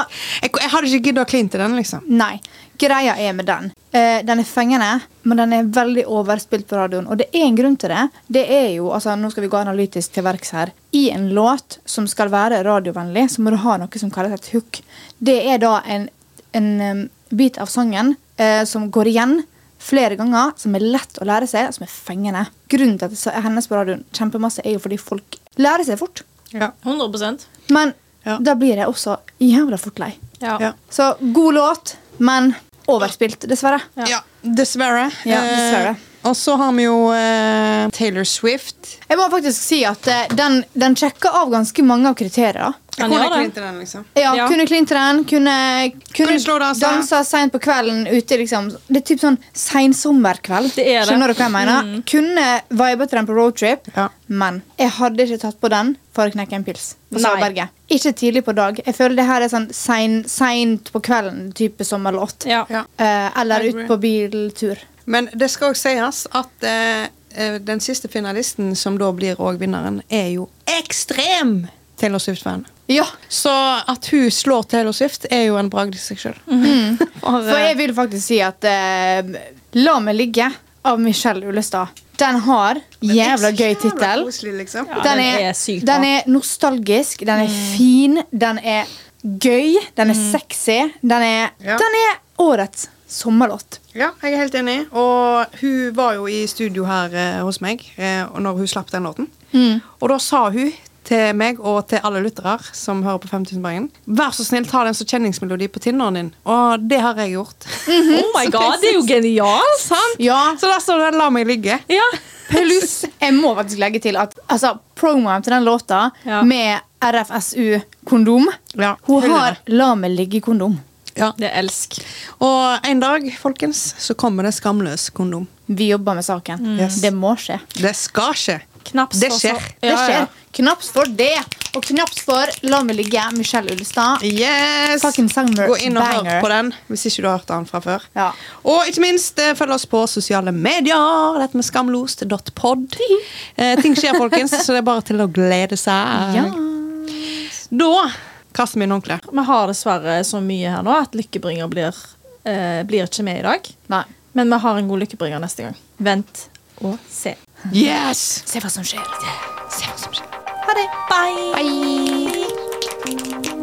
S1: Jeg, jeg hadde ikke giddet å kline til den, liksom.
S2: Nei. Greia er med den. Eh, den er fengende, men den er veldig overspilt på radioen. Og det er en grunn til det. Det er jo, altså Nå skal vi gå analytisk til verks her. I en låt som skal være radiovennlig, så må du ha noe som kalles et hook. Det er da en, en em, bit av sangen eh, som går igjen flere ganger, som er lett å lære seg, og som er fengende. Grunnen til at det sa- hennes på radioen kjempemasse, er jo fordi folk lærer seg fort.
S3: 100
S2: Men
S1: Ja.
S2: da blir jeg også jævla fort lei.
S3: Ja.
S1: Ja.
S2: Så god låt, men overspilt, dessverre.
S1: Ja, dessverre.
S2: Ja, dessverre.
S1: Eh, og så har vi jo eh, Taylor Swift.
S2: Jeg må faktisk si at eh, den, den sjekker av ganske mange av kriteriene.
S1: Jeg
S3: Han
S1: kunne
S3: gjør det.
S1: klint til den, liksom.
S2: Ja,
S3: Ja.
S2: Kunne klinte den, kunne, kunne,
S1: Kunne slå danse.
S2: danse seint på kvelden ute. liksom. Det er typ sånn seinsommerkveld.
S3: Det er det. Mm.
S2: Skjønner du hva jeg mener? Kunne vibet til den på roadtrip,
S1: Ja.
S2: men jeg hadde ikke tatt på den for å knekke en pils. på
S3: Nei.
S2: Svaberget. Ikke tidlig på dag. Jeg føler det her er sånn sein, seint på kvelden-type sommerlåt.
S3: Ja.
S1: Ja.
S2: Eh, eller
S1: I
S2: ut
S1: agree.
S2: på biltur.
S1: Men det skal også sies at eh, eh, den siste finalisten, som da blir òg vinneren, er jo ekstrem Taylor Swift-fan.
S2: Ja,
S1: Så at hun slår Taylor Swift, er jo en bragd i seg sjøl.
S2: Mm. For jeg vil faktisk si at eh, La meg ligge av Michelle Ullestad. Den har jævla gøy tittel.
S1: Liksom.
S3: Ja,
S2: Den,
S3: den
S2: er-
S3: er sykt bra.
S2: den er nostalgisk, den er
S1: Mm.
S2: fin, den er gøy, den er sexy. Den er,
S1: Ja.
S2: den er årets sommerlåt.
S1: Ja, jeg er helt enig. Og hun var jo i studio her eh, hos meg eh, og når hun slapp den låten.
S2: Mm.
S1: Og da sa hun til meg og til alle lyttere som hører på 5000 Bergen Vær så snill, ta den som kjenningsmelodi på Tinderen din. Og det har jeg gjort.
S2: Mm.
S3: Oh my god, det er jo genialt! Sant?
S2: Ja,
S1: [LAUGHS] så der står det 'La meg ligge'.
S3: Ja.
S2: Pluss, jeg må faktisk legge til at altså, promoen til den låta
S3: Ja.
S2: med RFSU-kondom
S1: Ja,
S2: Hun
S1: hyller
S2: har 'La meg ligge'-kondom.
S1: Ja.
S3: Det elsk.
S1: Og en dag, folkens, så kommer det skamløs kondom.
S2: Vi jobber med saken.
S1: Mm. Yes.
S2: Det må skje.
S1: Det skal skje.
S3: Knaps
S1: Det
S3: for
S1: skjer.
S3: så-
S2: Det
S3: Ja,
S2: skjer.
S3: ja.
S2: Knaps for det. Og knaps for 'La meg ligge', Michelle Ulstad.
S1: Yes!
S2: Fucking summer
S1: Gå inn og hør
S2: banger.
S1: på den hvis ikke du har hørt den fra før.
S2: Ja.
S1: Og ikke minst, eh, følg oss på sosiale medier. Dette med skamlost.pod. Eh, ting skjer, folkens, så det er bare til å glede seg.
S2: Ja.
S1: Da kaster vi inn håndkleet.
S3: Vi har dessverre så mye her nå at lykkebringer blir, eh, blir ikke med i dag.
S2: Nei.
S3: Men vi har en god lykkebringer neste gang. Vent og se.
S1: Yes!
S2: Se hva som skjer.
S3: Ha det. Bye.